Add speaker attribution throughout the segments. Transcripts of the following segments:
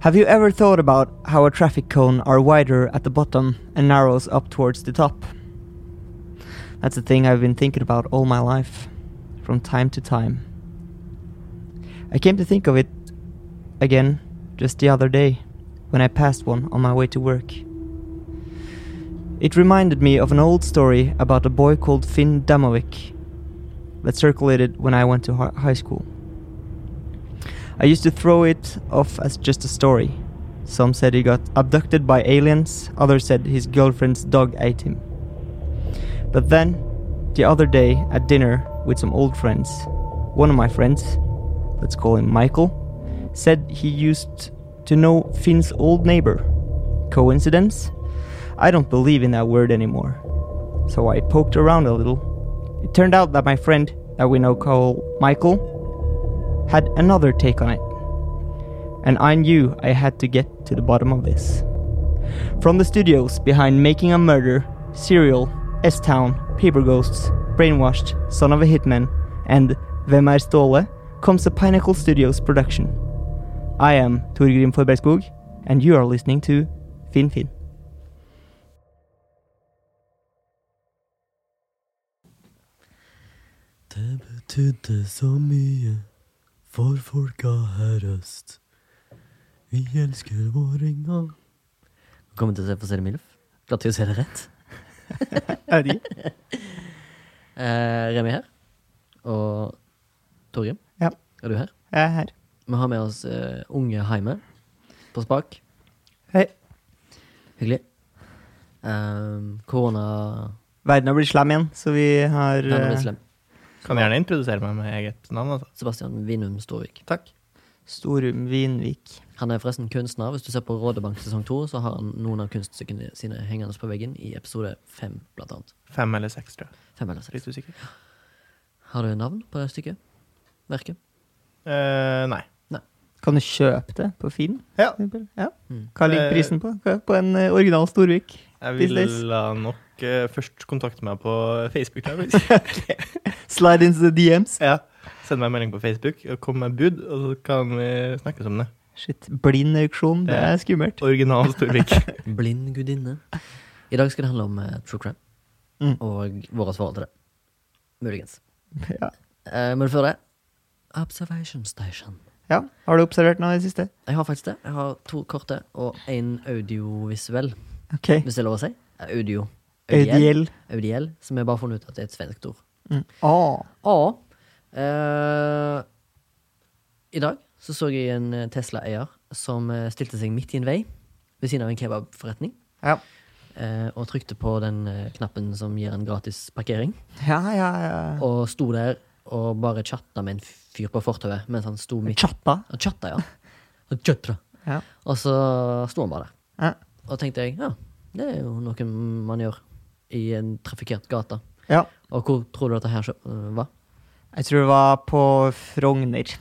Speaker 1: Have you ever thought about how a traffic cone are wider at the bottom and narrows up towards the top? That's a thing I've been thinking about all my life, from time to time. I came to think of it again just the other day when I passed one on my way to work. It reminded me of an old story about a boy called Finn Damovic that circulated when I went to hi- high school. I used to throw it off as just a story. Some said he got abducted by aliens, others said his girlfriend's dog ate him. But then, the other day at dinner with some old friends, one of my friends, let's call him Michael, said he used to know Finn's old neighbor. Coincidence? I don't believe in that word anymore. So I poked around a little. It turned out that my friend, that we now call Michael, had another take on it. And I knew I had to get to the bottom of this. From the studios behind Making a Murder, Serial, S Town, Paper Ghosts, Brainwashed, Son of a Hitman, and Hvem er Ståle comes the Pineapple Studios production. I am Torgrim Forbergskog, and you are listening to Finn Finn.
Speaker 2: Det betydde så mye for folka her øst. Vi elsker våringa. Velkommen til Se for se det milf. Glad til å se det rett. Eh, Remi her. Og Torgrim,
Speaker 1: Ja.
Speaker 2: er du her?
Speaker 1: Jeg er her.
Speaker 2: Vi har med oss eh, unge Heime på spak.
Speaker 1: Hei.
Speaker 2: Hyggelig. Eh, korona
Speaker 1: Verden har blitt slem igjen, så vi har
Speaker 2: Den er
Speaker 1: eh,
Speaker 2: litt slem.
Speaker 3: Kan gjerne introdusere meg med eget navn. Altså.
Speaker 2: Sebastian Vinum Storvik.
Speaker 3: Takk.
Speaker 1: eh, Storum Vinvik.
Speaker 2: Han er forresten kunstner. Hvis du ser på Rådebank sesong to, så har han noen av kunststykkene sine hengende på veggen i episode fem, blant annet.
Speaker 3: Fem eller seks, tror jeg.
Speaker 2: Fem eller seks.
Speaker 3: Litt usikker.
Speaker 2: Har du navn på det stykket? Verket?
Speaker 3: Eh, nei.
Speaker 1: Kan du kjøpe det på Finn?
Speaker 3: Ja.
Speaker 1: for eksempel? ja.
Speaker 2: Mm.
Speaker 1: Hva ligger
Speaker 3: Eh,
Speaker 1: prisen på? Hva- På en eh, original Storvik?
Speaker 3: Jeg
Speaker 1: These days.
Speaker 3: vil eh, nok eh, først kontakte meg på Facebook. tror jeg, faktisk.
Speaker 1: Slide into the DMs.
Speaker 3: ja. Send meg en melding på Facebook, og kom med bud, og så kan vi snakkes om det.
Speaker 1: Shit, blind auksjon, det
Speaker 3: Ja.
Speaker 1: er skummelt.
Speaker 3: Original Storvik.
Speaker 2: Blind gudinne. I dag skal det handle om eh, true crime.
Speaker 1: Mm.
Speaker 2: Og våre svar til det. Muligens.
Speaker 1: Ja.
Speaker 2: Eh, men før det Observation Station.
Speaker 1: ja, Har du observert noe i det siste?
Speaker 2: Jeg har faktisk det. Jeg har to korte og én audiovisuell,
Speaker 1: Ok,
Speaker 2: hvis det er lov å si. Eh, Audio.
Speaker 1: Audiell.
Speaker 2: Audiell, som jeg bare har funnet ut at er et svensk ord.
Speaker 1: Mm. Ah,
Speaker 2: Ja. Eh, I dag så så jeg en Tesla-eier som eh, stilte seg midt i en vei ved siden av en kebabforretning.
Speaker 1: Ja.
Speaker 2: Eh, og trykte på den eh, knappen som gir en gratis parkering.
Speaker 1: ja, ja, ja.
Speaker 2: Og sto der og bare chatta med en fyr på fortauet mens han sto midt
Speaker 1: Chatta.
Speaker 2: Han chatta, ja. Han chatta.
Speaker 1: Ja.
Speaker 2: Og så sto han bare der.
Speaker 1: Ja.
Speaker 2: Og tenkte jeg, ja, det er jo noe man gjør i en trafikkert gate.
Speaker 1: ja.
Speaker 2: Og hvor tror du dette her skjø- eh, var?
Speaker 1: Jeg tror det var på Frogner.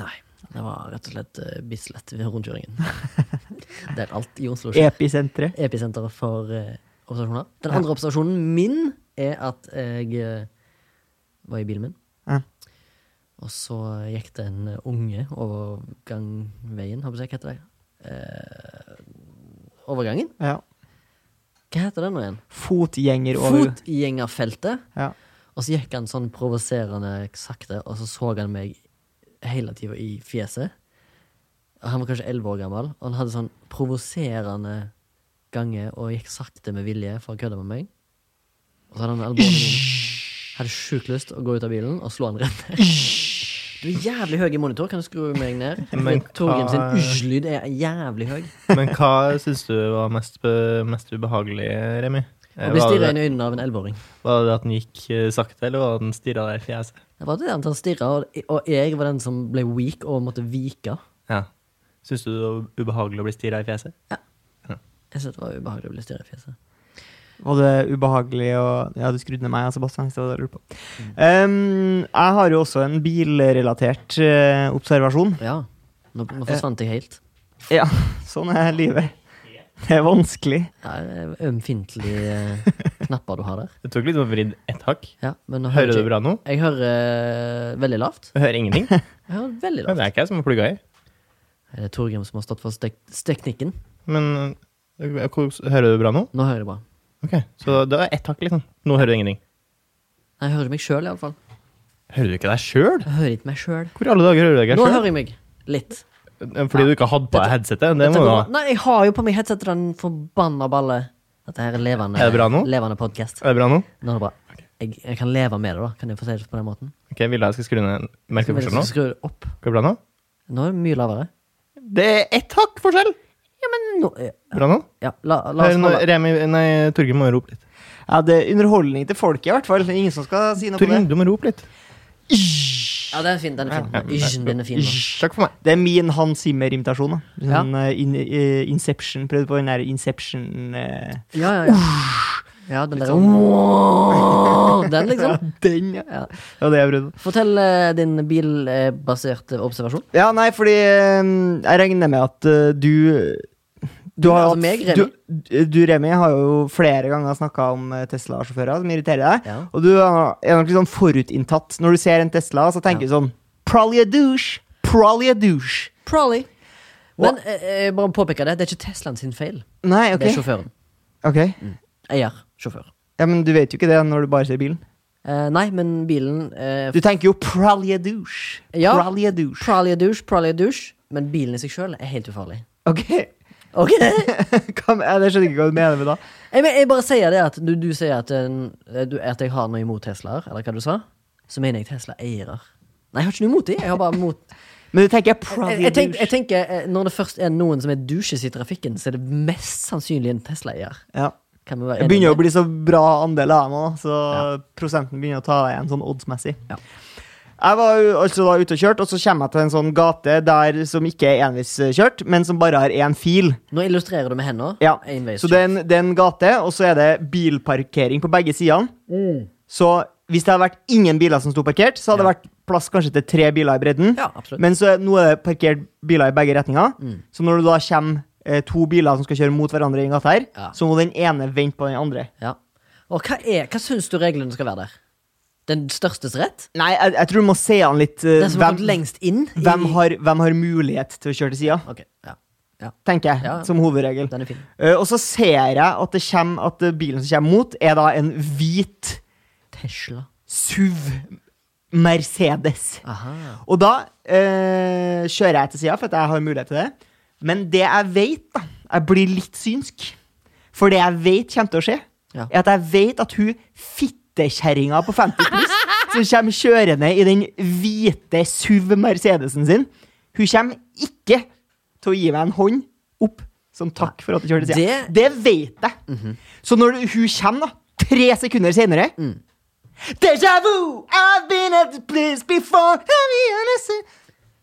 Speaker 2: Nei. Det var rett og slett eh, Bislett ved rundkjøringen. Det er alt i Oslo. skjer.
Speaker 1: Episenteret.
Speaker 2: Episenteret for eh, observasjoner. Den andre observasjonen min er at jeg eh, var i bilen min.
Speaker 1: Ja.
Speaker 2: Og så gikk det en unge over gangveien, har jeg på å si, hva heter det? Eh, overgangen?
Speaker 1: Ja.
Speaker 2: Hva heter den nå igjen?
Speaker 1: Fotgjenger over
Speaker 2: Fotgjengerfeltet.
Speaker 1: Ja.
Speaker 2: Og så gikk han sånn provoserende sakte, og så så han meg hele tida i fjeset. Og Han var kanskje elleve år gammel, og han hadde sånn provoserende gange og gikk sakte med vilje for å kødde med meg. Og så hadde han alvorlig Hadde sjukt lyst å gå ut av bilen og slå han rett ned. Du er jævlig høy i monitor, kan du skru meg ned?
Speaker 3: Men
Speaker 2: Torgrim sin
Speaker 3: hva-
Speaker 2: usj-lyd er jævlig høy.
Speaker 3: Men hva syns du var mest, be- mest ubehagelig, Remi? Eh,
Speaker 2: Og blir
Speaker 3: Var
Speaker 2: stirra
Speaker 3: det,
Speaker 2: inn i øynene av en elleveåring.
Speaker 3: var det at den gikk eh, sakte, eller var det at den stirra deg i fjeset?
Speaker 2: Det var det at han stirra, og, og jeg var den som ble weak og måtte vike.
Speaker 3: Ja. Syns du det var ubehagelig å bli stirra i fjeset?
Speaker 2: Jeg synes det var ubehagelig å bli stirret i fjeset.
Speaker 1: Var det ubehagelig og Ja, du skrudde ned meg, altså, Bastian. hvis Det var det jeg lurte på. Um, jeg har jo også en bilrelatert eh, observasjon.
Speaker 2: Ja. Nå, nå forsvant jeg helt.
Speaker 1: Ja, sånn er livet. Det er vanskelig.
Speaker 2: Ja, det er Ømfintlige eh, knapper du har der.
Speaker 3: Det tok litt å vridd ett hakk.
Speaker 2: Ja, men nå
Speaker 3: Hører du
Speaker 2: ikke-
Speaker 3: bra nå?
Speaker 2: Jeg hører eh, veldig lavt.
Speaker 3: Du hører ingenting?
Speaker 2: Jeg hører veldig
Speaker 3: Ja,
Speaker 2: lavt.
Speaker 3: det er ikke jeg som har plugga i.
Speaker 2: Er det Torgrim som har stått for stek teknikken?
Speaker 3: Men øh, hvor- hører du bra nå?
Speaker 2: Nå hører jeg bra.
Speaker 3: Ok, Så det var ett hakk, liksom. Nå hører du ingenting.
Speaker 2: Nei, jeg hører meg sjøl, iallfall.
Speaker 3: Hører du ikke deg sjøl?
Speaker 2: Jeg hører ikke meg sjøl.
Speaker 3: Hvor i alle dager hører du deg
Speaker 2: Nå
Speaker 3: sjøl?
Speaker 2: hører jeg meg. Litt.
Speaker 3: Fordi du ikke har hatt på deg headsetet? Det
Speaker 2: Dette
Speaker 3: må du
Speaker 2: går
Speaker 3: ha.
Speaker 2: bra. Nei, jeg har jo på meg headsetet den forbanna balle. Dette her er levende,
Speaker 3: Er det bra nå?
Speaker 2: levende podcast.
Speaker 3: Er det bra nå?
Speaker 2: Nå er det bra. Jeg, jeg kan leve med det, da. Kan jeg få si det på den måten?
Speaker 3: Ok, Vilde, jeg skal skru ned Merker du
Speaker 2: Men jeg
Speaker 3: forskjell nå?
Speaker 2: skal skru det opp.
Speaker 3: Går det bra nå?
Speaker 2: Nå er det mye lavere.
Speaker 3: Det er ett hakk forskjell!
Speaker 2: Nå, ja,
Speaker 3: Bra nå?
Speaker 2: ja, la, la
Speaker 3: Hør
Speaker 2: oss
Speaker 3: nå,
Speaker 2: holde
Speaker 3: Remi Nei, Torgrim må rope litt.
Speaker 1: Ja, Det er underholdning til folket, i hvert fall. Ingen som skal si noe på
Speaker 3: Torgrim,
Speaker 1: det.
Speaker 3: du må rope litt.
Speaker 2: Ja, den er fin. Den er
Speaker 3: Ja,
Speaker 2: fin. Ysj, den er fin. nå.
Speaker 3: Takk for meg.
Speaker 1: Det er min Hans Zimmer-imitasjon. da.
Speaker 2: Ja.
Speaker 1: Sånn, eh, in, eh, Inception. Prøvde på den der Inception eh,
Speaker 2: Ja, ja, ja. ja den der Den, liksom.
Speaker 3: Sånn,
Speaker 1: Den, ja.
Speaker 2: Ja.
Speaker 1: Det var det jeg prøvde.
Speaker 2: Fortell eh, din bilbaserte observasjon.
Speaker 1: Ja, nei, fordi eh, jeg regner med at eh, du du har, jo
Speaker 2: Altså, meg,
Speaker 1: hatt-
Speaker 2: Remi?
Speaker 1: Du, du, Remi, har jo flere ganger snakka om eh, Tesla-sjåfører som irriterer deg.
Speaker 2: Ja.
Speaker 1: Og du har- er nok litt sånn forutinntatt. Når du ser en Tesla, så tenker du sånn Probably a douche. Probably a douche.
Speaker 2: Probably. Men eh, eh, bare påpeke det, det er ikke Teslaen sin feil.
Speaker 1: Nei,
Speaker 2: Det er
Speaker 1: ok.
Speaker 2: sjåføren.
Speaker 1: Ok.
Speaker 2: Eier. Sjåfør.
Speaker 1: Ja, Men du vet jo ikke det når du bare ser bilen.
Speaker 2: Eh, nei, men bilen eh,
Speaker 1: Du tenker jo probably a douche.
Speaker 2: Ja.
Speaker 1: Probably a douche.
Speaker 2: Probably a douche, probably a douche. Men bilen i seg sjøl er helt ufarlig.
Speaker 1: Ok.
Speaker 2: Ok Jeg,
Speaker 1: Hva, men- jeg skjønner ikke hva du mener med det.
Speaker 2: men- jeg bare sier det at du, du sier at, en, du, at jeg har noe imot Teslaer, eller hva du sa. Så mener jeg Tesla-eiere. Nei, jeg har ikke noe imot dem. Jeg har bare mot
Speaker 1: Men du tenker
Speaker 2: jeg,
Speaker 1: probably a
Speaker 2: jeg, tenk,
Speaker 1: douche.
Speaker 2: jeg tenker eh, Når det først er noen som er douches i trafikken, så er det mest sannsynlig en Tesla-eier.
Speaker 1: Ja.
Speaker 2: Kan vi være
Speaker 1: Det
Speaker 2: enige
Speaker 1: begynner
Speaker 2: om
Speaker 1: å bli så bra andel av dem òg, så prosenten begynner å ta igjen sånn oddsmessig.
Speaker 2: Ja.
Speaker 1: Jeg var jo altså da ute og kjørte, og så kommer jeg til en sånn gate der som ikke er enveiskjørt, men som bare har én fil.
Speaker 2: Nå illustrerer du med hendene.
Speaker 1: Ja.
Speaker 2: Enveis-
Speaker 1: Så det er en, det er en gate, og så er det bilparkering på begge sidene. Så hvis det hadde vært ingen biler som sto parkert, så hadde det vært plass kanskje til tre biler i bredden.
Speaker 2: Ja, absolutt. Mm.
Speaker 1: Men så er, nå er det parkert biler i begge retninger. Så når det da kommer eh, to biler som skal kjøre mot hverandre i en gate her,
Speaker 2: Ja.
Speaker 1: så må den ene vente på den andre.
Speaker 2: Ja. Og hva, er, hva syns du reglene skal være der? Den størstes rett?
Speaker 1: Nei, jeg, jeg tror du må se an litt eh,
Speaker 2: Den som har
Speaker 1: hvem,
Speaker 2: kommet lengst inn? i-
Speaker 1: hvem, har, hvem har mulighet til å kjøre til sida,
Speaker 2: Ok, ja. ja.
Speaker 1: tenker jeg,
Speaker 2: Ja, ja.
Speaker 1: som hovedregel.
Speaker 2: Den er fin.
Speaker 1: Eh, og så ser jeg at, det kommer, at eh, bilen som kommer mot, er da en hvit
Speaker 2: Tesla.
Speaker 1: SUV Mercedes.
Speaker 2: Aha.
Speaker 1: Og da eh, kjører jeg til sida, for at jeg har mulighet til det. Men det jeg vet, da Jeg blir litt synsk. For det jeg vet kommer til å skje,
Speaker 2: Ja.
Speaker 1: er at jeg vet at hun fittekjerringa på 50 pluss som kommer kjørende i den hvite SUV Mercedesen sin, hun kommer ikke til å gi meg en hånd opp som takk for at du kjørte til sida.
Speaker 2: Det- Mhm.
Speaker 1: Det vet jeg. Så når hun kommer, da, tre sekunder senere Deja vu! I've been at this place before. Have you ever seen-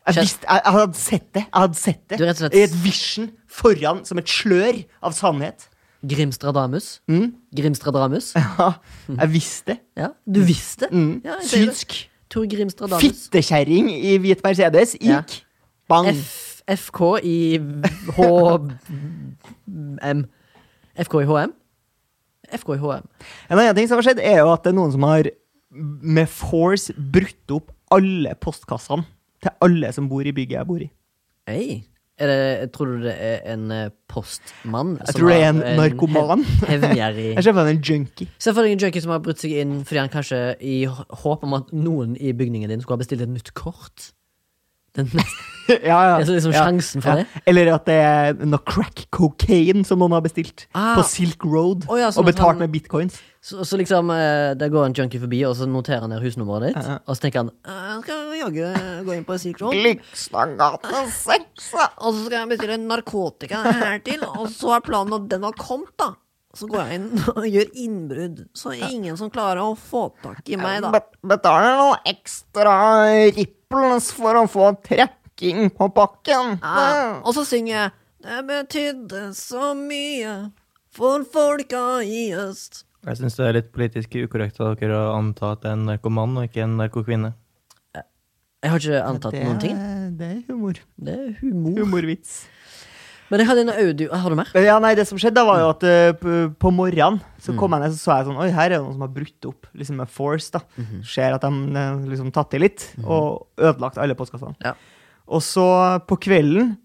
Speaker 1: Jeg,
Speaker 2: Kjell.
Speaker 1: visste, jeg, jeg hadde sett det. Jeg hadde sett det
Speaker 2: Du er rett og slett-
Speaker 1: I et vision foran, som et slør av sannhet.
Speaker 2: Grimstradamus.
Speaker 1: Mm.
Speaker 2: Grimstradamus.
Speaker 1: Ja, jeg visste det.
Speaker 2: Ja, du visste.
Speaker 1: Mm.
Speaker 2: Ja, jeg sier det.
Speaker 1: Synsk.
Speaker 2: Tor Grimstradamus.
Speaker 1: Fittekjerring i hvit Mercedes
Speaker 2: Ja.
Speaker 1: gikk. Bang.
Speaker 2: F FK i HM. FK i HM? FK i HM.
Speaker 1: En annen ting som har skjedd, er jo at det er noen som har med force brutt opp alle postkassene til alle som bor i bygget jeg bor i.
Speaker 2: Ei. Er det, tror du det er en eh, postmann?
Speaker 1: Jeg
Speaker 2: som
Speaker 1: tror det er
Speaker 2: har
Speaker 1: en narkoman.
Speaker 2: hev- Hevngjerrig
Speaker 1: Jeg ser for meg en junkie.
Speaker 2: Se for deg en junkie som har brutt seg inn fordi han kanskje i h- håp om at noen i bygningen din skulle ha bestilt et nytt kort. Den neste,
Speaker 1: ja, ja.
Speaker 2: Det er liksom sjansen for det.
Speaker 1: Eller at det er noe crack cocaine som noen har bestilt
Speaker 2: Ah.
Speaker 1: på Silk Road
Speaker 2: Å ja, sånn
Speaker 1: og
Speaker 2: at
Speaker 1: betalt
Speaker 2: han-
Speaker 1: med bitcoins.
Speaker 2: så, så liksom, eh, der går en junkie forbi, og så noterer han ned husnummeret ditt.
Speaker 1: Ja, ja.
Speaker 2: Og så tenker han «Eh, jeg skal jaggu eh, gå inn på Silk Road.
Speaker 1: Lykslanggata 6.
Speaker 2: Og så skal jeg bestille narkotika hertil, og så er planen at den har kommet, da. Så går jeg inn og gjør innbrudd, så er ingen som klarer å få tak i meg, da.
Speaker 1: Betaler noe ekstra ripples for å få trekking på pakken.
Speaker 2: Ah, Ja, Og så synger jeg
Speaker 4: Det betydde så mye for folka i øst.
Speaker 3: Jeg syns det er litt politisk ukorrekt av dere å anta at det er en narkoman og ikke en narkokvinne.
Speaker 2: Jeg har ikke antatt
Speaker 1: Det
Speaker 2: noen ting.
Speaker 1: er- Det er humor.
Speaker 2: Det er humor.
Speaker 1: Humorvits.
Speaker 2: Men jeg hadde en audio Har du mer?
Speaker 1: Ja, nei, det som skjedde da var jo at eh, p- på morgenen så kom jeg ned så så jeg sånn, oi, her er det noen som har brutt opp liksom med force da. Ser at de eh, liksom tatt i litt og ødelagt alle postkassene.
Speaker 2: Ja.
Speaker 1: Og så på kvelden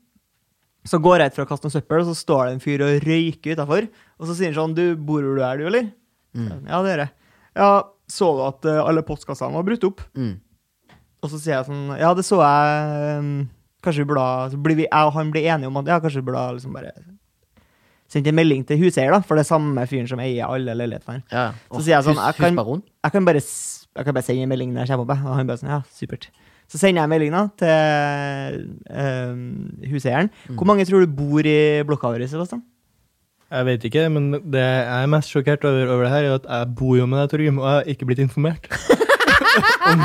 Speaker 1: så går jeg ut for å kaste noe søppel, og så står det en fyr og røyker utenfor. Og så sier han sånn, du, bor du her du, eller? Ja, det gjør jeg. Ja, så du at eh, alle postkassene var brutt opp?
Speaker 2: Mm.
Speaker 1: Og så sier jeg sånn Ja, det så jeg um, Kanskje vi burde ha- Så blir vi, jeg og han blir enige om at ja, kanskje vi burde ha liksom bare sendt en melding til huseier, da, for det er samme fyren som eier alle leilighetene. her.
Speaker 2: Ja.
Speaker 1: Så sier jeg sånn, jeg kan-
Speaker 2: Husbaron?
Speaker 1: Jeg kan bare, s- jeg kan bare sende en melding når jeg kommer opp, jeg. og han bare sånn Ja, supert. Så sender jeg meldinga til um, huseieren. Hvor mange tror du bor i blokka vår, Sebastian?
Speaker 3: Jeg vet ikke, men det jeg er mest sjokkert over, over det her, er at jeg bor jo med deg, Torgrim, og jeg har ikke blitt informert om,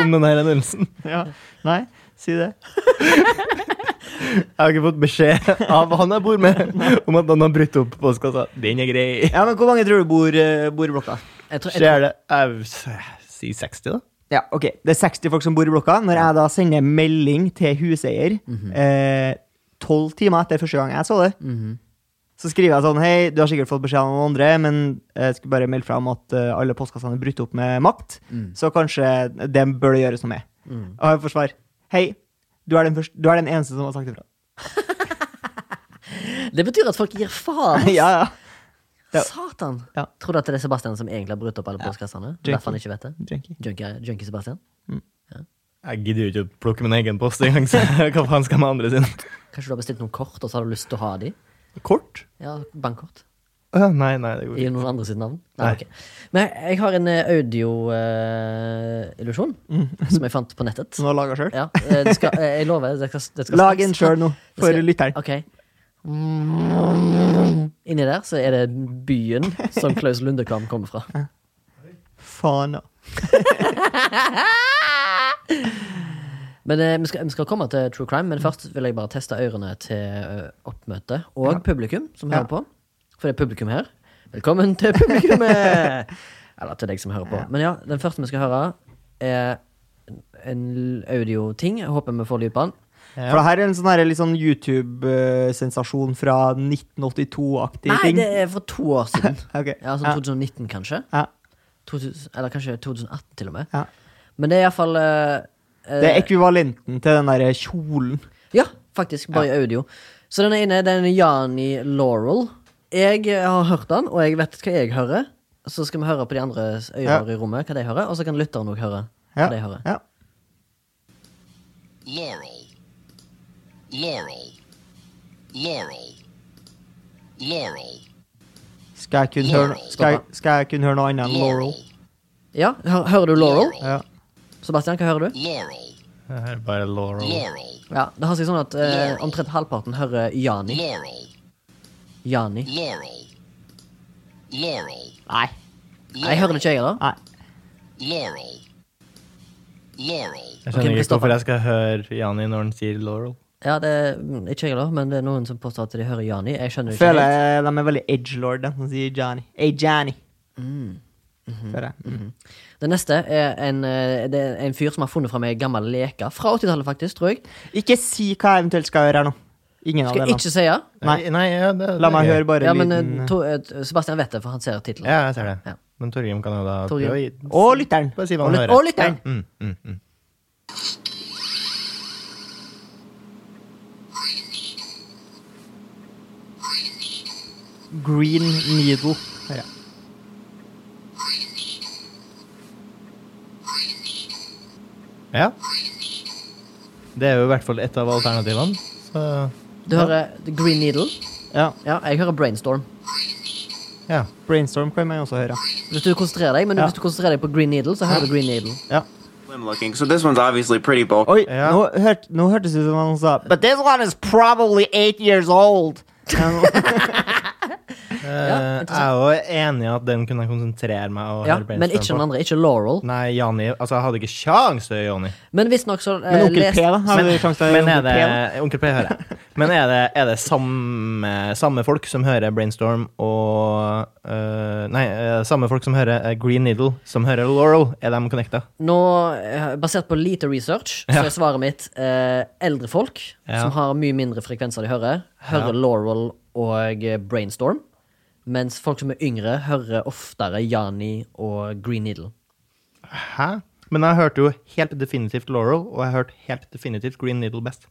Speaker 3: om denne hendelsen.
Speaker 1: Ja. Nei? Si det.
Speaker 3: Jeg har ikke fått beskjed av han jeg bor med, om at han har brutt opp postkassa. Den er grei.
Speaker 1: Ja, men hvor mange tror du bor, eh, bor i blokka?
Speaker 2: Jeg tror, jeg,
Speaker 3: Skjer det Jeg s- sier 60, da.
Speaker 1: Ja, ok. Det er 60 folk som bor i blokka. Når jeg da sender melding til huseier
Speaker 2: Mhm.
Speaker 1: eh, tolv timer etter første gang jeg så det,
Speaker 2: Mhm.
Speaker 1: så skriver jeg sånn Hei, du har sikkert fått beskjed av noen andre, men jeg skulle bare melde fra om at eh, alle postkassene er brutt opp med makt,
Speaker 2: Mm.
Speaker 1: så kanskje det bør det gjøres noe med. Og jeg får svar. Hei, du er den, første, du er den eneste som har sagt ifra.
Speaker 2: det betyr at folk gir faen.
Speaker 1: ja, ja. Ja.
Speaker 2: Satan.
Speaker 1: Ja.
Speaker 2: Tror du at det er Sebastian som egentlig har brutt opp alle postkassene?
Speaker 1: Junkie.
Speaker 2: Derfor han ikke vet det?
Speaker 1: Junkie.
Speaker 2: Junkie, junkie Sebastian?
Speaker 3: Jeg gidder jo ikke å plukke min egen post engang, så hva faen skal jeg med andre sin?
Speaker 2: Kanskje du har bestilt noen kort, og så har du lyst til å ha de?
Speaker 3: Kort?
Speaker 2: Ja, Bankkort?
Speaker 3: Å, Nei, nei, det går
Speaker 2: I
Speaker 3: ikke.
Speaker 2: noen andre sitt navn? Nei,
Speaker 3: Nei.
Speaker 2: ok. Men jeg har en eh, audioillusjon
Speaker 1: Mm.
Speaker 2: som jeg fant på nettet.
Speaker 1: Som du har laga sjøl?
Speaker 2: Ja, eh, det skal, eh, jeg lover. Det skal, det skal
Speaker 1: Lag en
Speaker 2: straks-
Speaker 1: sjøl nå,
Speaker 2: Det
Speaker 1: for
Speaker 2: skal-
Speaker 1: lytteren.
Speaker 2: Ok. Inni der så er det byen som Klaus Lundekvam kommer fra.
Speaker 1: Faen, da.
Speaker 2: Men eh, vi, skal, vi skal komme til true crime, men først vil jeg bare teste ørene til eh, oppmøtet og publikum som hører på. For det er publikum her. Velkommen til publikummet! Eller til deg som hører på. Men ja, den første vi skal høre, er en l- audioting. Jeg Håper vi får lyd på den.
Speaker 3: Ja.
Speaker 1: For det her er en sånn her litt sånn YouTube-sensasjon fra 1982-aktig
Speaker 2: Nei,
Speaker 1: ting.
Speaker 2: det er for to år siden.
Speaker 1: Ok.
Speaker 2: Ja,
Speaker 1: Ja.
Speaker 2: Sånn 2019, kanskje.
Speaker 1: Ja.
Speaker 2: 2000, eller kanskje 2018, til og med.
Speaker 1: Ja.
Speaker 2: Men det er iallfall
Speaker 1: Det er ekvivalenten til den der kjolen.
Speaker 2: Ja, faktisk. Bare i audio. Så den er inne, den er Jani Laurel. Jeg eh, har hørt den, og jeg vet hva jeg hører. Så skal vi høre på de andre øyene i rommet, hva de hører, og så kan lytteren òg høre hva
Speaker 1: Ja.
Speaker 2: de hører.
Speaker 1: Ja.
Speaker 5: Laurel. Laurel. Laurel. Laurel.
Speaker 1: Skal, jeg kun høre,
Speaker 5: Laurel.
Speaker 1: skal, jeg- skal jeg kun høre noe annet enn Laurel?
Speaker 5: Laurel.
Speaker 2: Ja, hø- Hører du Laurel?
Speaker 1: Ja.
Speaker 2: Sebastian, hva hører du?
Speaker 5: Laurel.
Speaker 3: Det her er bare Laurel.
Speaker 5: Laurel.
Speaker 2: Ja, Det har seg sånn at eh, omtrent halvparten hører Jani.
Speaker 5: Laurel.
Speaker 2: Jani.
Speaker 5: Laurel. Laurel.
Speaker 1: Nei.
Speaker 2: Nei, jeg hører det ikke, jeg, da.
Speaker 1: Nei.
Speaker 5: Laurel. Laurel.
Speaker 3: Jeg
Speaker 2: Ok,
Speaker 3: skjønner ikke
Speaker 2: Kristoffer.
Speaker 3: hvorfor jeg skal høre Jani når han sier Laurel.
Speaker 2: Ja, det er mm, Ikke jeg, da, men det er noen som påstår at de hører Jani. Jeg skjønner det ikke.
Speaker 1: Føler
Speaker 2: helt.
Speaker 1: jeg de er veldig edgelord, de som sier Johnny. Hey, Johnny. Føler jeg. Mhm.
Speaker 2: Det neste er en, eh, det er en fyr som har funnet fram ei gammel leke fra 80-tallet, faktisk, tror jeg.
Speaker 1: Ikke si hva jeg eventuelt skal gjøre her nå. Ingen av
Speaker 2: Skal jeg
Speaker 1: delene.
Speaker 2: ikke si ja?
Speaker 1: Nei.
Speaker 3: nei ja, det,
Speaker 1: La meg
Speaker 3: det er
Speaker 1: høre
Speaker 3: gøy.
Speaker 1: bare
Speaker 2: Ja,
Speaker 1: en
Speaker 2: men eh,
Speaker 1: liten
Speaker 2: to, eh, Sebastian vet det, for han ser tittelen.
Speaker 3: Ja, jeg ser det.
Speaker 2: Ja.
Speaker 3: Men Torgrim kan jo da
Speaker 2: Torgrim.
Speaker 3: prøve å gi
Speaker 1: Og lytteren.
Speaker 3: Bare si hva
Speaker 2: Og
Speaker 3: han
Speaker 2: lyt-
Speaker 3: hører.
Speaker 2: og lytteren.
Speaker 3: Mm, mm, mm.
Speaker 1: Green Needle. hører jeg.
Speaker 3: Ja. Det er jo i hvert fall et av alternativene. Så
Speaker 2: Du hører Green Needle.
Speaker 1: Ja.
Speaker 2: Ja, jeg hører Brainstorm.
Speaker 3: ja.
Speaker 1: Brainstorm kan man også høre.
Speaker 2: Hvis du konsentrerer deg, men
Speaker 1: Ja.
Speaker 2: hvis du konsentrerer deg på Green Needle, så hører du Green Needle.
Speaker 1: Ja.
Speaker 6: slim looking. So this one's obviously pretty bulky.
Speaker 1: Oi,
Speaker 3: Ja.
Speaker 1: nå, hørt, nå hørtes det ut som han sa But this one is probably eight years old.
Speaker 3: Eh, er jo enig i at den kunne jeg konsentrere meg og
Speaker 2: Ja,
Speaker 3: høre
Speaker 2: men ikke den
Speaker 3: brainstorm på.
Speaker 2: andre. Ikke Laurel.
Speaker 3: Nei, Jani Altså, jeg hadde ikke kjangs til Jani.
Speaker 2: Men visstnok så eh,
Speaker 1: Men onkel
Speaker 2: leste-
Speaker 1: P, da? Har du sjanse til
Speaker 3: Men er
Speaker 1: onkel P? da?
Speaker 3: det Onkel P hører jeg. Men er det, er det samme, samme folk som hører Brainstorm og øh, Nei, øh, samme folk som hører øh, Green Needle, som hører Laurel? Er de connecta?
Speaker 2: Nå, eh, basert på lite research, så
Speaker 3: Ja.
Speaker 2: er svaret mitt eh, eldre folk
Speaker 3: Ja.
Speaker 2: som har mye mindre frekvenser de hører, hører Laurel og eh, Brainstorm. Mens folk som er yngre, hører oftere Jani og Green Needle.
Speaker 3: Hæ? Men jeg hørte jo helt definitivt Laurel, og jeg hørte helt definitivt Green Needle best.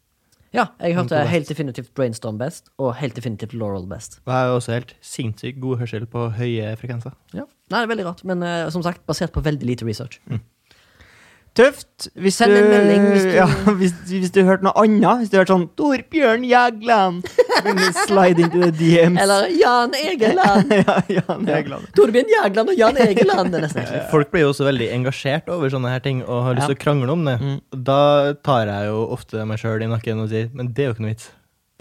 Speaker 2: Ja, jeg hørte
Speaker 3: to best.
Speaker 2: helt definitivt Brainstorm best, og helt definitivt Laurel best.
Speaker 3: Og jeg har jo også helt sinnssykt god hørsel på høye frekvenser.
Speaker 2: Nei, det er veldig rart, men eh, som sagt, basert på veldig lite research.
Speaker 3: Mm.
Speaker 1: Tøft. Hvis
Speaker 2: Send en
Speaker 1: du-
Speaker 2: melding hvis du-
Speaker 1: ja, hvis, hvis du hørte noe annet. Hvis du hørte sånn Torbjørn Jagland. begynner å Slide into the DMs.
Speaker 2: Eller Jan Egeland!
Speaker 1: ja, Jan Jagland.
Speaker 2: Torbjørn Jagland og Jan Egeland! Det er nesten ekkelt.
Speaker 3: Folk blir jo også veldig engasjert over sånne her ting og har lyst til å krangle om det.
Speaker 2: Mm.
Speaker 3: Da tar jeg jo ofte meg sjøl i nakken og sier men det er jo ikke noe vits.